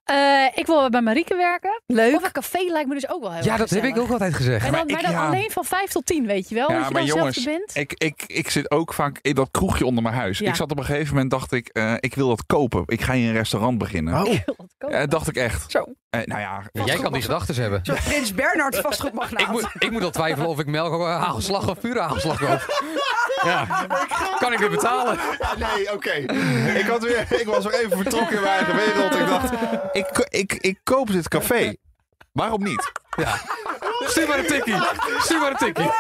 [SPEAKER 5] Eh, ik wil bij Marieke werken.
[SPEAKER 2] Leuk.
[SPEAKER 5] Of een café lijkt me dus ook wel heel
[SPEAKER 3] Ja,
[SPEAKER 5] erg
[SPEAKER 3] dat heb ik
[SPEAKER 5] gezellig.
[SPEAKER 3] ook altijd gezegd.
[SPEAKER 5] En
[SPEAKER 1] Maar
[SPEAKER 5] dan, maar
[SPEAKER 1] ik-
[SPEAKER 5] dan
[SPEAKER 1] ja.
[SPEAKER 5] alleen van 5 tot 10, weet je wel.
[SPEAKER 1] Ja,
[SPEAKER 5] dat je
[SPEAKER 1] maar
[SPEAKER 5] dan
[SPEAKER 1] jongens,
[SPEAKER 5] zelf er bent.
[SPEAKER 1] Ik, ik, ik zit ook vaak in dat kroegje onder mijn huis.
[SPEAKER 5] Ja.
[SPEAKER 1] Ik zat op een gegeven moment, dacht ik, eh, ik wil dat kopen. Ik ga hier een restaurant beginnen.
[SPEAKER 4] Oh.
[SPEAKER 5] Ik wil dat kopen.
[SPEAKER 1] Eh, dacht ik echt.
[SPEAKER 2] Zo.
[SPEAKER 1] Eh, nou ja,
[SPEAKER 3] Ja, jij kan die gedachten hebben.
[SPEAKER 2] Een soort Prins Bernhard vastgoedmagnaat.
[SPEAKER 3] Ik moet, ik moet al twijfelen of ik melk of hagelslag of pure hagelslag koop. Ja. Kan ik dit betalen?
[SPEAKER 1] Ja, nee, oké. Ik, had weer- ik was weer even vertrokken in mijn eigen wereld. Ik dacht, ik, ik, ik koop dit café. Waarom niet?
[SPEAKER 3] Ja. Stuur maar een tikkie. Stuur maar een tikkie.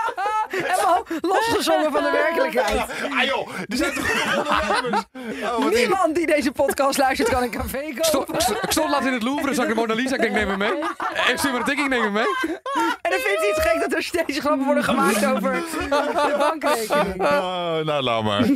[SPEAKER 2] Helemaal losgezongen van de
[SPEAKER 1] Oh,
[SPEAKER 2] werkelijkheid.
[SPEAKER 1] Ah joh, er zijn toch genoeg ondernemers? Oh, wat heerlijk.
[SPEAKER 2] Niemand die deze podcast luistert kan een café kopen.
[SPEAKER 3] Ik stond, ik stond laatst in het Louvre, zag ik de Mona Lisa. Ik denk, neem me mee. En stuur maar een tikkie, ik neem me mee.
[SPEAKER 2] En dan vindt hij het gek dat er steeds grappen worden gemaakt over de bankrekening.
[SPEAKER 1] Oh, nou, laat maar.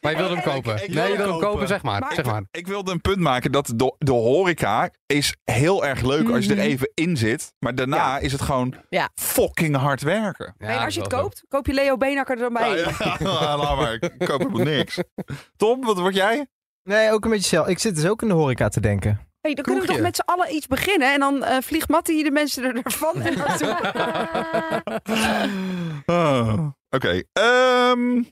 [SPEAKER 3] Maar je wilde hem kopen.
[SPEAKER 1] Ik- ik wil
[SPEAKER 3] Nee, je wilde hem
[SPEAKER 1] kopen.
[SPEAKER 3] kopen, zeg maar.
[SPEAKER 2] Maar-
[SPEAKER 3] Zeg maar.
[SPEAKER 1] Ik wilde een punt maken dat de, de horeca is heel erg leuk als je er even in zit. Maar daarna is het gewoon
[SPEAKER 5] Ja.
[SPEAKER 1] fucking hard werken.
[SPEAKER 3] Ja,
[SPEAKER 2] en
[SPEAKER 3] dat
[SPEAKER 2] als
[SPEAKER 3] is
[SPEAKER 2] je het
[SPEAKER 3] wel zo.
[SPEAKER 2] koopt, koop je Leo Benakker er dan bij.
[SPEAKER 1] Nou, ja, laat maar. Ik koop helemaal niks. Tom, wat word jij?
[SPEAKER 4] Nee, ook een beetje zelf. Ik zit dus ook in de horeca te denken.
[SPEAKER 2] Hey, dan kunnen we
[SPEAKER 1] Kroegje.
[SPEAKER 2] toch met z'n allen iets beginnen. En dan eh, vliegt Mattie de mensen er- ervan. weer naartoe.
[SPEAKER 1] Ah, Oké. ehm,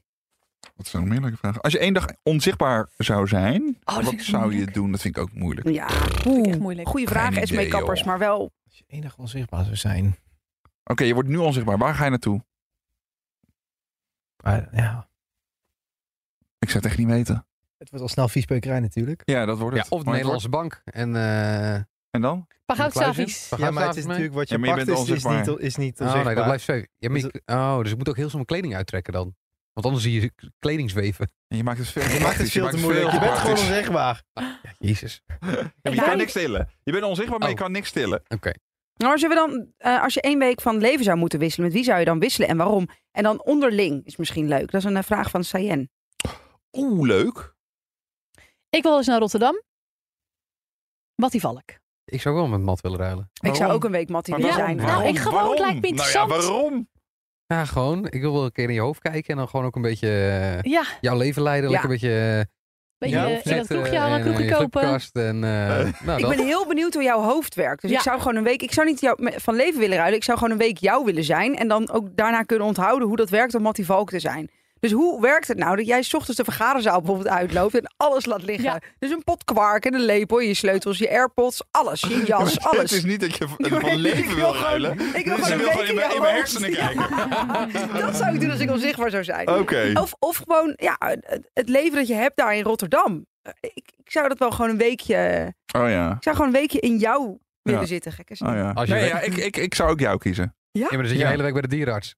[SPEAKER 1] Wat zijn nog meer leuke vragen? Als je één dag onzichtbaar zou
[SPEAKER 2] Oh,
[SPEAKER 1] zijn,
[SPEAKER 5] dat
[SPEAKER 1] wat
[SPEAKER 5] vind ik
[SPEAKER 1] zou
[SPEAKER 5] moeilijk.
[SPEAKER 1] je doen? Dat vind ik ook moeilijk.
[SPEAKER 2] Ja,
[SPEAKER 5] vind ik
[SPEAKER 2] oeh,
[SPEAKER 5] echt moeilijk.
[SPEAKER 2] goede
[SPEAKER 1] Geen
[SPEAKER 2] vraag.
[SPEAKER 1] idee,
[SPEAKER 2] Esmee Kappers,
[SPEAKER 1] joh.
[SPEAKER 2] maar wel...
[SPEAKER 4] Als je één dag onzichtbaar zou zijn.
[SPEAKER 1] Oké, je wordt nu onzichtbaar. Waar ga je naartoe?
[SPEAKER 4] Maar ja,
[SPEAKER 1] Ik zou het echt niet weten.
[SPEAKER 4] het wordt al snel viespeukerij natuurlijk.
[SPEAKER 1] Ja, dat wordt
[SPEAKER 3] Ja,
[SPEAKER 1] het.
[SPEAKER 3] of de
[SPEAKER 1] Maar het wordt-
[SPEAKER 3] Nederlandse bank. En, eh
[SPEAKER 1] En dan?
[SPEAKER 5] Paar goudstaafjes.
[SPEAKER 3] Waar
[SPEAKER 4] Ja,
[SPEAKER 3] gaat
[SPEAKER 4] maar
[SPEAKER 3] avond
[SPEAKER 4] het is
[SPEAKER 3] mee?
[SPEAKER 4] natuurlijk wat je,
[SPEAKER 1] Ja, maar je
[SPEAKER 4] pakt
[SPEAKER 1] bent
[SPEAKER 4] is, is
[SPEAKER 1] onzichtbaar.
[SPEAKER 4] niet, is niet
[SPEAKER 3] Oh, nee, dat
[SPEAKER 4] onzichtbaar.
[SPEAKER 3] blijft zo. Ja, maar
[SPEAKER 4] Dus
[SPEAKER 3] je- oh, dus ik moet ook heel snel mijn kleding uittrekken dan. Want anders zie je kleding zweven.
[SPEAKER 1] En je maakt het veel
[SPEAKER 4] je maakt het veel te moeilijk. Je bent gewoon onzichtbaar.
[SPEAKER 3] Jezus.
[SPEAKER 1] Je
[SPEAKER 2] Ja,
[SPEAKER 1] kan
[SPEAKER 2] ik-
[SPEAKER 1] niks tillen. Je bent onzichtbaar, maar je
[SPEAKER 3] Oh.
[SPEAKER 1] kan niks tillen.
[SPEAKER 3] Oké.
[SPEAKER 2] Nou, als je, dan, eh, als je één week van leven zou moeten wisselen, met wie zou je dan wisselen en waarom? En dan onderling is misschien leuk. Dat is een eh, vraag van Sayen.
[SPEAKER 1] Oeh, leuk.
[SPEAKER 5] Ik wil eens naar Rotterdam. Mattie Valk.
[SPEAKER 3] Ik zou wel met Matt willen ruilen.
[SPEAKER 2] Ik zou
[SPEAKER 1] Waarom?
[SPEAKER 2] ook een week Mattie
[SPEAKER 1] Maar
[SPEAKER 2] willen
[SPEAKER 5] ja,
[SPEAKER 2] zijn.
[SPEAKER 5] nou, waarom? ik gewoon, het
[SPEAKER 1] Waarom?
[SPEAKER 5] lijkt me
[SPEAKER 1] Nou ja,
[SPEAKER 5] interessant.
[SPEAKER 1] waarom?
[SPEAKER 3] Ja, gewoon. Ik wil wel een keer in je hoofd kijken en dan gewoon ook een beetje eh,
[SPEAKER 5] Ja,
[SPEAKER 3] jouw leven leiden.
[SPEAKER 2] Ja.
[SPEAKER 3] Lekker eh, een beetje
[SPEAKER 5] ben je
[SPEAKER 4] Ja,
[SPEAKER 5] in dat kroegje hangen,
[SPEAKER 3] een
[SPEAKER 5] kroegen kopen.
[SPEAKER 3] Flipkast en eh,
[SPEAKER 1] Ah,
[SPEAKER 3] nou,
[SPEAKER 2] Ik
[SPEAKER 3] dat.
[SPEAKER 2] ben heel benieuwd hoe jouw hoofd werkt. Dus
[SPEAKER 5] Ja.
[SPEAKER 2] ik zou gewoon een week. Ik zou niet jou, me- van leven willen ruilen. Ik zou gewoon een week jou willen zijn. En dan ook daarna kunnen onthouden hoe dat werkt om Mattie Valk te zijn. Dus hoe werkt het nou dat jij 's ochtends de vergaderzaal bijvoorbeeld uitloopt en alles laat liggen?
[SPEAKER 5] Ja.
[SPEAKER 2] Dus een pot kwark en een lepel, je sleutels, je airpods, alles, je jas,
[SPEAKER 1] Het is
[SPEAKER 2] alles.
[SPEAKER 1] niet dat je van,
[SPEAKER 2] Nee,
[SPEAKER 1] van
[SPEAKER 2] ik
[SPEAKER 1] leven
[SPEAKER 2] wil
[SPEAKER 1] wil
[SPEAKER 2] gewoon-
[SPEAKER 1] ruilen.
[SPEAKER 2] ik wil
[SPEAKER 1] Dus
[SPEAKER 2] gewoon
[SPEAKER 1] je
[SPEAKER 2] een
[SPEAKER 1] wil
[SPEAKER 2] week
[SPEAKER 1] gewoon in
[SPEAKER 2] in
[SPEAKER 1] mijn,
[SPEAKER 2] jouw
[SPEAKER 1] in mijn
[SPEAKER 2] hoofd.
[SPEAKER 1] hersenen
[SPEAKER 2] Ja.
[SPEAKER 1] kijken.
[SPEAKER 2] Dat zou ik doen als ik onzichtbaar zou zijn.
[SPEAKER 1] Oké.
[SPEAKER 2] Of, of gewoon ja, het- het leven dat je hebt daar in Rotterdam. Ik, ik zou dat wel gewoon een weekje.
[SPEAKER 1] Oh ja.
[SPEAKER 2] Ik zou gewoon een weekje in jou willen
[SPEAKER 1] Ja.
[SPEAKER 2] zitten, gekke
[SPEAKER 1] Oh ja.
[SPEAKER 3] Als je
[SPEAKER 1] nee,
[SPEAKER 3] weet-
[SPEAKER 1] ja ik, ik, ik zou ook jou kiezen.
[SPEAKER 3] Ja, maar dan zit je
[SPEAKER 1] Ja.
[SPEAKER 3] de hele week bij de dierenarts.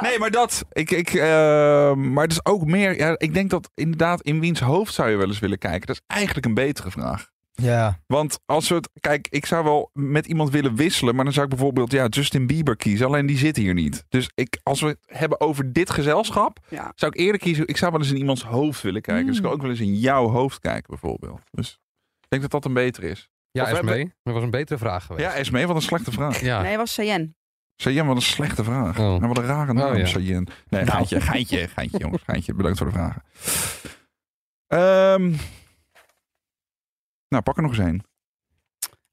[SPEAKER 1] Nee, maar dat. Ik, ik, eh, maar het is ook meer. Ja, ik denk dat inderdaad in wiens hoofd zou je wel eens willen kijken. Dat is eigenlijk een betere vraag.
[SPEAKER 4] Ja.
[SPEAKER 1] Want als we het. Kijk, ik zou wel met iemand willen wisselen. Maar dan zou ik bijvoorbeeld ja, Justin Bieber kiezen. Alleen die zit hier niet. Dus ik, als we het hebben over dit gezelschap.
[SPEAKER 2] Ja.
[SPEAKER 1] Zou ik eerder kiezen. Ik zou wel eens in iemands hoofd willen kijken. Dus ik kan
[SPEAKER 5] Mm.
[SPEAKER 1] ook wel eens in jouw hoofd kijken, bijvoorbeeld. Dus ik denk dat dat een betere is.
[SPEAKER 3] Ja,
[SPEAKER 1] Of we
[SPEAKER 3] Esmee. Dat was een betere vraag geweest.
[SPEAKER 1] Ja, Esmee, wat een slechte vraag.
[SPEAKER 3] Ja.
[SPEAKER 2] Nee, was Sayen.
[SPEAKER 1] Sayen, wat een slechte vraag.
[SPEAKER 3] Oh.
[SPEAKER 1] Nou, wat een rare naam,
[SPEAKER 3] Oh, ja.
[SPEAKER 1] Sayen. Nee, geintje, geintje, geintje, jongens. Geintje, bedankt voor de vragen. Ehm, nou, pak er nog eens een.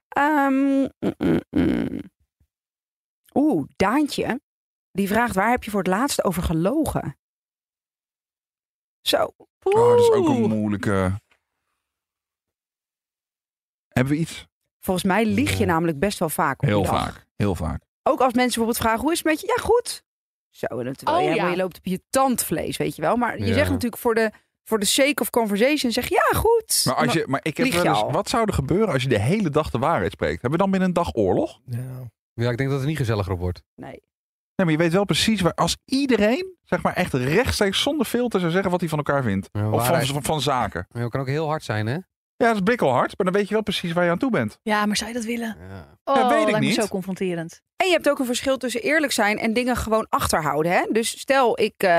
[SPEAKER 2] Ehm, mm, mm, mm. Oeh, Daantje. Die vraagt, waar heb je voor het laatst over gelogen? Zo.
[SPEAKER 1] Oh, dat is ook een
[SPEAKER 5] Oeh.
[SPEAKER 1] moeilijke. Hebben we iets?
[SPEAKER 2] Volgens mij lieg je
[SPEAKER 3] Ja.
[SPEAKER 2] namelijk best wel vaak. op
[SPEAKER 1] Heel
[SPEAKER 2] die dag.
[SPEAKER 1] vaak. Heel vaak.
[SPEAKER 2] Ook als mensen bijvoorbeeld vragen, hoe is het met je? Ja, goed. Zo, en dan terwijl
[SPEAKER 5] Oh,
[SPEAKER 2] je, helemaal-
[SPEAKER 5] ja.
[SPEAKER 2] je loopt op je tandvlees, weet je wel. Maar je
[SPEAKER 3] Ja.
[SPEAKER 2] zegt natuurlijk voor de, voor de sake of conversation, zeg je, ja, goed.
[SPEAKER 1] Maar, als je, maar ik heb
[SPEAKER 2] Nou, lieg je
[SPEAKER 1] wel eens,
[SPEAKER 2] al?
[SPEAKER 1] wat zou er gebeuren als je de hele dag de waarheid spreekt? Hebben we dan binnen een dag oorlog?
[SPEAKER 4] Nou,
[SPEAKER 3] Ja, ik denk dat het niet gezelliger op wordt.
[SPEAKER 2] Nee.
[SPEAKER 1] Nee, maar je weet wel precies waar als iedereen, zeg maar echt rechtstreeks zonder filter zou zeggen wat hij van elkaar vindt.
[SPEAKER 3] Ja,
[SPEAKER 1] Of van,
[SPEAKER 3] waarheid-
[SPEAKER 1] van, van zaken.
[SPEAKER 3] Ja, dat kan ook heel hard zijn, hè?
[SPEAKER 1] Ja, dat is bikkelhard, maar dan weet je wel precies waar je aan toe bent.
[SPEAKER 5] Ja, maar zou je dat willen?
[SPEAKER 3] Ja.
[SPEAKER 5] Oh,
[SPEAKER 1] weet ik
[SPEAKER 5] lijkt me
[SPEAKER 1] niet.
[SPEAKER 5] zo confronterend.
[SPEAKER 2] En je hebt ook een verschil tussen eerlijk zijn en dingen gewoon achterhouden. Hè? Dus stel, ik, eh,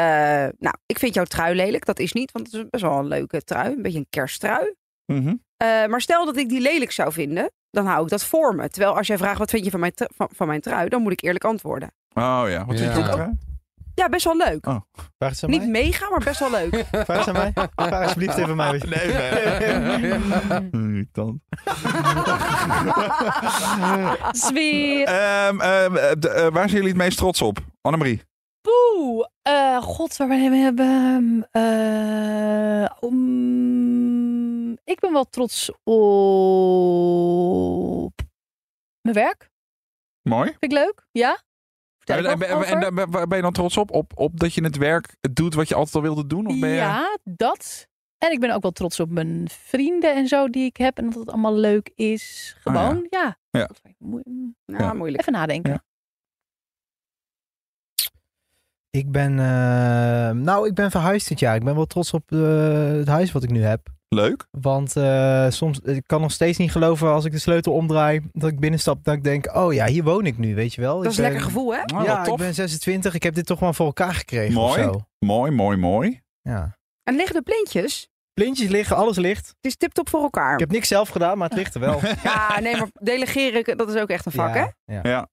[SPEAKER 2] nou, ik vind jouw trui lelijk. Dat is niet, want het is best wel een leuke trui. Een beetje een kersttrui.
[SPEAKER 1] Mhm.
[SPEAKER 2] Eh, maar stel dat ik die lelijk zou vinden, dan hou ik dat voor me. Terwijl als jij vraagt, wat vind je van mijn, tru- van, van mijn trui? Dan moet ik eerlijk antwoorden.
[SPEAKER 1] Oh ja, wat
[SPEAKER 3] Ja.
[SPEAKER 1] vind je ook?
[SPEAKER 2] Ja, best wel leuk.
[SPEAKER 1] Oh,
[SPEAKER 4] vraag eens aan
[SPEAKER 2] Niet
[SPEAKER 4] mij.
[SPEAKER 2] mega, maar best wel leuk.
[SPEAKER 4] Vraag eens aan mij. Vraag alsjeblieft even aan mij. wat je-
[SPEAKER 1] Nee,
[SPEAKER 5] Hmm.
[SPEAKER 1] Irritant.
[SPEAKER 5] Zweer.
[SPEAKER 1] Ehm, ehm, eh, de- eh, waar zijn jullie het meest trots op? Annemarie.
[SPEAKER 5] Poeh. Eh, God, waar ben ik hebben? hmm, Eh, om- ik ben wel trots op mijn werk.
[SPEAKER 1] Mooi.
[SPEAKER 5] Vind ik leuk. Ja? Vertel
[SPEAKER 1] En,
[SPEAKER 5] ik
[SPEAKER 1] en,
[SPEAKER 5] nog
[SPEAKER 1] en-
[SPEAKER 5] over?
[SPEAKER 1] en daar ben- waar ben je dan trots op? op? Op dat je het werk doet wat je altijd al wilde doen? Of ben je...
[SPEAKER 5] Ja, dat. En ik ben ook wel trots op mijn vrienden en zo die ik heb. En dat het allemaal leuk is.
[SPEAKER 1] Ah, ja.
[SPEAKER 5] Gewoon, ja.
[SPEAKER 1] Ja.
[SPEAKER 5] Dat vind ik moe-
[SPEAKER 2] Nou,
[SPEAKER 1] Ja.
[SPEAKER 2] moeilijk.
[SPEAKER 5] Even nadenken.
[SPEAKER 1] Ja.
[SPEAKER 4] Ik ben... eh, nou, ik ben verhuisd dit jaar. Ik ben wel trots op eh, het huis wat ik nu heb.
[SPEAKER 1] Leuk.
[SPEAKER 4] Want eh, soms, ik kan nog steeds niet geloven als ik de sleutel omdraai, dat ik binnenstap, dat ik denk, oh ja, hier woon ik nu, weet je wel.
[SPEAKER 2] Dat is
[SPEAKER 4] ik
[SPEAKER 2] een
[SPEAKER 4] ben-
[SPEAKER 2] lekker gevoel, Oh, hè?
[SPEAKER 1] Nou,
[SPEAKER 4] ja,
[SPEAKER 1] wat
[SPEAKER 4] ik
[SPEAKER 1] tof.
[SPEAKER 4] ben 26, ik heb dit toch wel voor elkaar gekregen
[SPEAKER 1] Mooi.
[SPEAKER 4] of zo.
[SPEAKER 1] Mooi, mooi, mooi.
[SPEAKER 4] Ja.
[SPEAKER 2] En liggen de plintjes?
[SPEAKER 4] Plintjes liggen, alles ligt.
[SPEAKER 2] Het is tiptop voor elkaar.
[SPEAKER 4] Ik heb niks zelf gedaan, maar het ligt er wel.
[SPEAKER 2] Ja, nee, maar delegeren, dat is ook echt een vak, hè?
[SPEAKER 4] ja, ja.
[SPEAKER 1] Ja.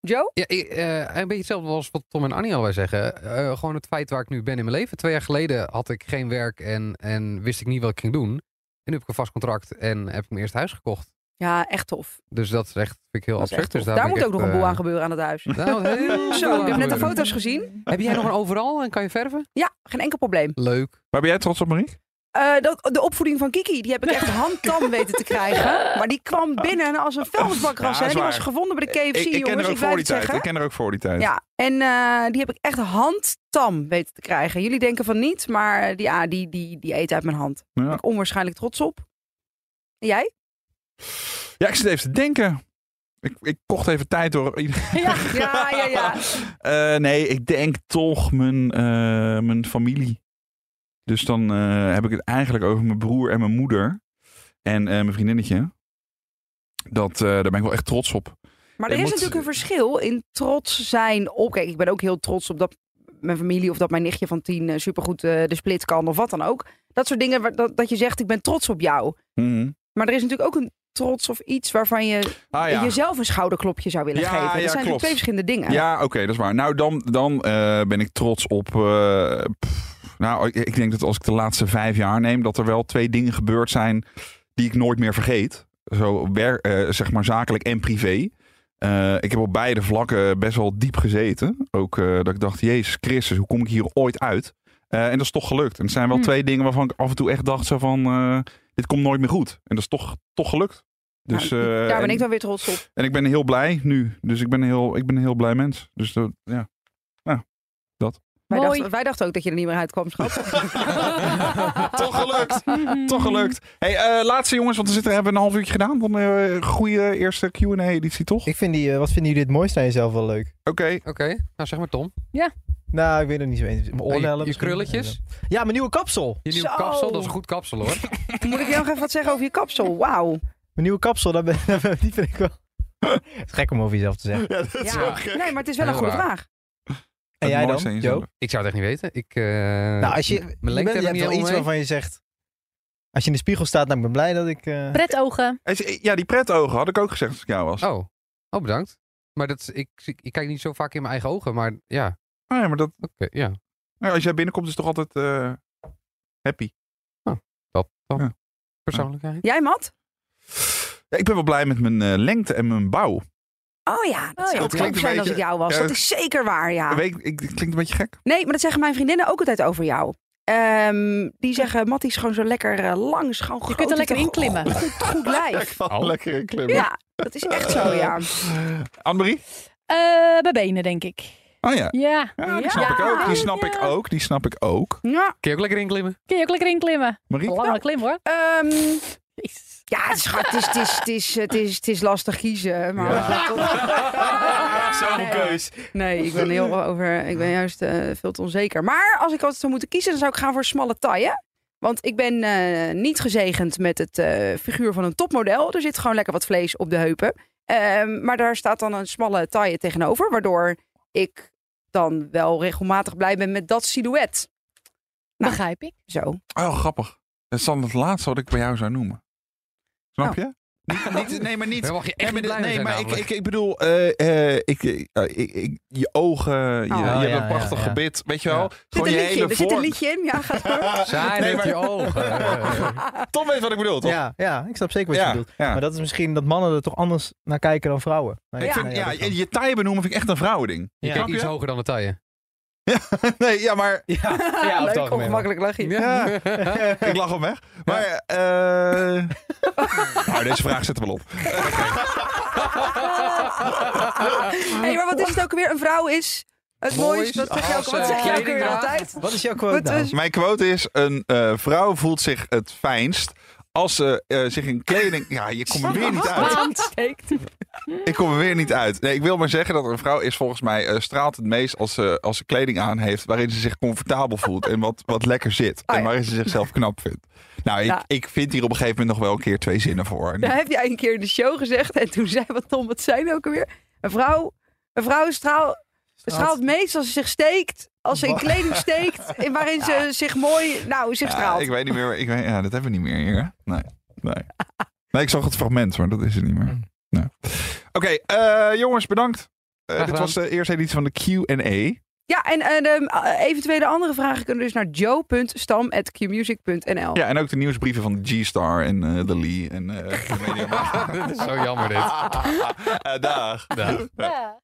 [SPEAKER 2] Joe?
[SPEAKER 3] Ja, ik, eh, een beetje hetzelfde als wat Tom en Annie allebei zeggen. Eh, gewoon het feit waar ik nu ben in mijn leven. Twee jaar geleden had ik geen werk en, en wist ik niet wat ik ging doen. En nu heb ik een vast contract en heb ik mijn eerste huis gekocht.
[SPEAKER 2] Ja, echt tof.
[SPEAKER 3] Dus dat is echt, vind ik heel
[SPEAKER 2] Dat is
[SPEAKER 3] absurd.
[SPEAKER 2] echt tof.
[SPEAKER 3] Dus
[SPEAKER 2] Daar
[SPEAKER 3] ben
[SPEAKER 2] moet
[SPEAKER 3] ik
[SPEAKER 2] ook nog
[SPEAKER 3] echt,
[SPEAKER 2] een boel
[SPEAKER 3] eh,
[SPEAKER 2] aan gebeuren aan het huis.
[SPEAKER 3] daar moet heel veel
[SPEAKER 2] Zo,
[SPEAKER 3] aan
[SPEAKER 2] ik heb net de
[SPEAKER 3] gebeuren.
[SPEAKER 2] foto's gezien.
[SPEAKER 3] Heb jij nog een overal en kan je verven?
[SPEAKER 2] Ja, geen enkel probleem.
[SPEAKER 3] Leuk.
[SPEAKER 1] Waar ben jij trots op, Marie?
[SPEAKER 2] Eh, dat, de opvoeding van Kiki, die heb ik echt handtam weten te krijgen. Maar die kwam binnen als een
[SPEAKER 1] Ja, dat
[SPEAKER 2] vuilnisbakras. hè.
[SPEAKER 1] is
[SPEAKER 2] die was
[SPEAKER 1] waar.
[SPEAKER 2] gevonden bij de KFC,
[SPEAKER 1] ik, ik ken
[SPEAKER 2] jongens.
[SPEAKER 1] er ook
[SPEAKER 2] Ik blijf
[SPEAKER 1] voor die
[SPEAKER 2] het
[SPEAKER 1] tijd.
[SPEAKER 2] zeggen.
[SPEAKER 1] Ik ken er ook voor die tijd.
[SPEAKER 2] Ja, en eh, die heb ik echt handtam weten te krijgen. Jullie denken van niet, maar eh, die, ja, die, die, die eet uit mijn hand. Daar
[SPEAKER 1] Ja.
[SPEAKER 2] ben ik onwaarschijnlijk trots op. En jij?
[SPEAKER 1] Ja, ik zit even te denken. Ik, ik kocht even tijd door.
[SPEAKER 5] Ja.
[SPEAKER 2] Ja, ja, ja.
[SPEAKER 1] Eh, nee, ik denk toch mijn, eh, mijn familie. Dus dan eh, heb ik het eigenlijk over mijn broer en mijn moeder. En eh, mijn vriendinnetje. Dat, eh, daar ben ik wel echt trots op.
[SPEAKER 2] Maar
[SPEAKER 1] Je
[SPEAKER 2] er is
[SPEAKER 1] moet-
[SPEAKER 2] natuurlijk een verschil in trots zijn op... Kijk, ik ben ook heel trots op dat mijn familie of dat mijn nichtje van tien eh, supergoed eh, de split kan of wat dan ook. Dat soort dingen waar, dat, dat je zegt, ik ben trots op jou.
[SPEAKER 1] Mhm.
[SPEAKER 2] Maar er is natuurlijk ook een trots of iets waarvan je
[SPEAKER 1] Ah, ja.
[SPEAKER 2] jezelf een schouderklopje zou willen
[SPEAKER 1] Ja,
[SPEAKER 2] geven. Dat
[SPEAKER 1] ja,
[SPEAKER 2] zijn natuurlijk
[SPEAKER 1] klopt.
[SPEAKER 2] twee verschillende dingen.
[SPEAKER 1] Ja, oké, dat is waar. Nou, dan, dan eh, ben ik trots op. eh, pff, nou, ik, ik denk dat als ik de laatste vijf jaar neem, dat er wel twee dingen gebeurd zijn die ik nooit meer vergeet. Zo wer- eh, zeg maar zakelijk en privé. Eh, ik heb op beide vlakken best wel diep gezeten. Ook eh, dat ik dacht, Jezus Christus, hoe kom ik hier ooit uit? Eh, en dat is toch gelukt. En het zijn wel
[SPEAKER 5] Hm.
[SPEAKER 1] twee dingen waarvan ik af en toe echt dacht: zo van, eh, dit komt nooit meer goed. En dat is toch, toch gelukt. Dus,
[SPEAKER 2] Nou,
[SPEAKER 1] eh,
[SPEAKER 2] Daar
[SPEAKER 1] en-
[SPEAKER 2] ben ik dan weer trots op.
[SPEAKER 1] en ik ben heel blij nu. Dus ik ben een heel, ik ben een heel blij mens. Dus dat, ja.
[SPEAKER 2] Wij
[SPEAKER 5] Mooi.
[SPEAKER 2] dachten, wij dachten ook dat je er niet meer uitkwam, schat.
[SPEAKER 1] Toch gelukt.
[SPEAKER 5] Mhm.
[SPEAKER 1] Ah, Toch gelukt. Hey, eh, laatste jongens, want we zitten, hebben we een half uurtje gedaan. Dan een goede eerste Q&A-editie, toch?
[SPEAKER 4] Ik vind die, eh, wat vinden jullie het mooiste aan jezelf wel leuk?
[SPEAKER 1] Oké.
[SPEAKER 3] Oké, nou zeg maar Tom.
[SPEAKER 4] Nou, ik weet het niet zo eens. Mijn
[SPEAKER 3] je,
[SPEAKER 4] oorlellen
[SPEAKER 3] je
[SPEAKER 4] misschien.
[SPEAKER 3] krulletjes,
[SPEAKER 4] Ja, mijn nieuwe kapsel.
[SPEAKER 3] je nieuwe
[SPEAKER 2] Zo.
[SPEAKER 3] kapsel, dat is een goed kapsel hoor.
[SPEAKER 2] Moet ik jou nog even wat zeggen over je kapsel? Wauw.
[SPEAKER 4] Mijn nieuwe kapsel, daar ben, die vind ik wel... Het is gek om over jezelf te zeggen.
[SPEAKER 1] Ja, dat
[SPEAKER 2] Ja. Nee, maar het is wel een
[SPEAKER 3] Heel
[SPEAKER 2] goede
[SPEAKER 3] raar.
[SPEAKER 2] vraag.
[SPEAKER 4] En jij dan, Jo?
[SPEAKER 3] Ik zou het echt niet weten. Ik, eh,
[SPEAKER 4] Nou, als je, je,
[SPEAKER 3] mijn
[SPEAKER 4] bent-
[SPEAKER 3] lengte
[SPEAKER 4] je
[SPEAKER 3] heb ik niet
[SPEAKER 4] hebt wel iets
[SPEAKER 3] helemaal mee.
[SPEAKER 4] waarvan je zegt... Als je in de spiegel staat, nou, ik ben blij dat ik... eh,
[SPEAKER 5] Pretogen.
[SPEAKER 1] Ja, die pretogen had ik ook gezegd als ik jou was. Oh,
[SPEAKER 3] Oh, oh bedankt. Maar dat, is- ik, ik, ik kijk niet zo vaak in mijn eigen ogen, maar ja, oké,
[SPEAKER 1] ja, maar dat,
[SPEAKER 3] ja.
[SPEAKER 1] nou, als jij binnenkomt is het toch altijd eh, happy.
[SPEAKER 3] Persoonlijkheid.
[SPEAKER 2] Jij, Matt?
[SPEAKER 1] Ja, ik ben wel blij met mijn eh, lengte en mijn bouw.
[SPEAKER 2] Oh ja, dat
[SPEAKER 5] Oh ja.
[SPEAKER 2] zou
[SPEAKER 5] Het
[SPEAKER 2] het
[SPEAKER 1] klinkt
[SPEAKER 2] ook
[SPEAKER 1] een
[SPEAKER 2] zijn als
[SPEAKER 1] beetje-
[SPEAKER 2] het jou was.
[SPEAKER 1] Ja,
[SPEAKER 2] Dat
[SPEAKER 1] het-
[SPEAKER 2] is zeker waar, ja.
[SPEAKER 1] Weet ik, ik, het klinkt een beetje gek.
[SPEAKER 2] Nee, maar dat zeggen mijn vriendinnen ook altijd over jou. Ehm, die zeggen, Mattie is gewoon zo lekker eh, lang, schoon
[SPEAKER 5] Je kunt er lekker in klimmen.
[SPEAKER 2] Goed, goed lijf.
[SPEAKER 1] Oh. Lekker in klimmen.
[SPEAKER 2] Ja, dat is echt zo, ja.
[SPEAKER 1] Annemarie?
[SPEAKER 5] Eh, mijn benen, denk ik.
[SPEAKER 1] Oh ja.
[SPEAKER 5] Ja.
[SPEAKER 1] Ja,
[SPEAKER 2] Ja.
[SPEAKER 1] die snap ik ook. Die snap
[SPEAKER 5] Ja.
[SPEAKER 1] ik ook. Die snap ik ook.
[SPEAKER 2] Ja,
[SPEAKER 3] Kun je ook lekker inklimmen?
[SPEAKER 5] Kun je ook lekker in klimmen.
[SPEAKER 1] Marie?
[SPEAKER 5] Lange klim hoor.
[SPEAKER 2] ehm,
[SPEAKER 5] Jezus.
[SPEAKER 2] ja schat, het is, het, is, het, is, het, is, het is lastig kiezen. Maar Nee. Nee, ik ben, heel over, ik ben juist eh, veel te onzeker. Maar als ik altijd zou moeten kiezen, dan zou ik gaan voor smalle taille. Want ik ben eh, niet gezegend met het eh, figuur van een topmodel. Er zit gewoon lekker wat vlees op de heupen. Ehm, maar daar staat dan een smalle taille tegenover. Waardoor ik dan wel regelmatig blij ben met dat silhouet. Nou.
[SPEAKER 5] Begrijp ik.
[SPEAKER 2] Zo.
[SPEAKER 1] Oh, grappig. Dat is dan het laatste wat ik bij jou zou noemen. Snap
[SPEAKER 2] Oh.
[SPEAKER 1] je? Niet, niet- nee, maar niet.
[SPEAKER 3] Dan mag je
[SPEAKER 1] Nee,
[SPEAKER 3] echt
[SPEAKER 1] maar,
[SPEAKER 3] niet
[SPEAKER 1] dit-
[SPEAKER 3] blij mee
[SPEAKER 1] nee,
[SPEAKER 3] zijn
[SPEAKER 1] maar ik,
[SPEAKER 3] namelijk.
[SPEAKER 1] ik, ik bedoel, eh, eh, ik, eh, ik, ik- je ogen, je,
[SPEAKER 2] Oh,
[SPEAKER 1] je
[SPEAKER 2] ja,
[SPEAKER 1] hebt een
[SPEAKER 4] ja,
[SPEAKER 1] prachtig
[SPEAKER 4] ja.
[SPEAKER 1] gebit, weet je wel?
[SPEAKER 4] Ja.
[SPEAKER 2] Zit
[SPEAKER 1] Gewoon je
[SPEAKER 2] een liedje in.
[SPEAKER 1] hele
[SPEAKER 2] Er zit een
[SPEAKER 1] vorm.
[SPEAKER 2] liedje in. Ja, gaat door.
[SPEAKER 3] Zijn
[SPEAKER 1] Nee,
[SPEAKER 3] met
[SPEAKER 1] maar-
[SPEAKER 3] je ogen.
[SPEAKER 1] Tom weet wat ik bedoel, toch?
[SPEAKER 4] ja, ja, ik snap zeker wat
[SPEAKER 1] ja,
[SPEAKER 4] je bedoelt.
[SPEAKER 1] ja.
[SPEAKER 4] Maar dat is misschien dat mannen er toch anders naar kijken dan vrouwen. Nou,
[SPEAKER 1] Ik vind,
[SPEAKER 4] nou
[SPEAKER 1] ja,
[SPEAKER 4] dat kan.
[SPEAKER 1] je, je taille benoemen vind ik echt een vrouwending.
[SPEAKER 3] Je
[SPEAKER 4] Ja.
[SPEAKER 3] kijkt
[SPEAKER 1] Snap
[SPEAKER 3] iets
[SPEAKER 1] je?
[SPEAKER 3] hoger dan de taille.
[SPEAKER 1] Nee, ja, maar
[SPEAKER 4] Ja, op het
[SPEAKER 2] Leuk,
[SPEAKER 4] algemeen.
[SPEAKER 2] ongemakkelijk lachje.
[SPEAKER 1] Ja. ik lach hem weg. Maar, eh nou, deze vraag zetten we wel op.
[SPEAKER 2] Hey, maar wat is het ook weer? Een vrouw is het
[SPEAKER 3] Mooi,
[SPEAKER 2] mooiste. Dat zeg je ook,
[SPEAKER 3] als,
[SPEAKER 2] wat
[SPEAKER 3] eh,
[SPEAKER 2] zeg je ook weer
[SPEAKER 3] kledingdrager.
[SPEAKER 2] altijd?
[SPEAKER 4] Wat is jouw quote
[SPEAKER 2] Wat
[SPEAKER 4] nou?
[SPEAKER 2] is-
[SPEAKER 1] Mijn quote is: een eh, vrouw voelt zich het fijnst als ze eh, zich in kleding. Ja, je komt er weer niet uit. Ik kom er weer niet uit. Nee, ik wil maar zeggen dat een vrouw is volgens mij eh, straalt het meest als ze, als ze kleding aan heeft waarin ze zich comfortabel voelt en wat, wat lekker zit.
[SPEAKER 2] Ah, ja.
[SPEAKER 1] En waarin ze zichzelf knap vindt. Nou, ik,
[SPEAKER 2] Ja.
[SPEAKER 1] ik vind hier op een gegeven moment nog wel een keer twee zinnen voor.
[SPEAKER 2] Daar heb jij een keer in de show gezegd. En toen zei wat Tom, wat zijn ook alweer? Een vrouw, een vrouw straal, straalt meest als ze zich steekt. Als ze in
[SPEAKER 4] Wat?
[SPEAKER 2] kleding steekt. In waarin ze zich mooi, nou, zich
[SPEAKER 1] Ja,
[SPEAKER 2] straalt.
[SPEAKER 1] ik weet niet meer. Ik weet, ja, dat hebben we niet meer hier. hè? Nee. nee. Nee, ik zag het fragment, maar dat is het niet meer. Nee. Oké, eh, jongens, bedankt. Eh, dit
[SPEAKER 3] gedaan.
[SPEAKER 1] was de eerste editie van de QA.
[SPEAKER 2] Ja, en, en, ehm, eh, eventuele andere vragen kunnen dus naar joe.stam.qmusic.nl.
[SPEAKER 1] Ja, en ook de nieuwsbrieven van de G-Star en eh, de Lee en eh, de Mediamarkt.
[SPEAKER 3] Dit is zo jammer dit.
[SPEAKER 1] Eh, Dag.
[SPEAKER 3] Ja.
[SPEAKER 5] Ja.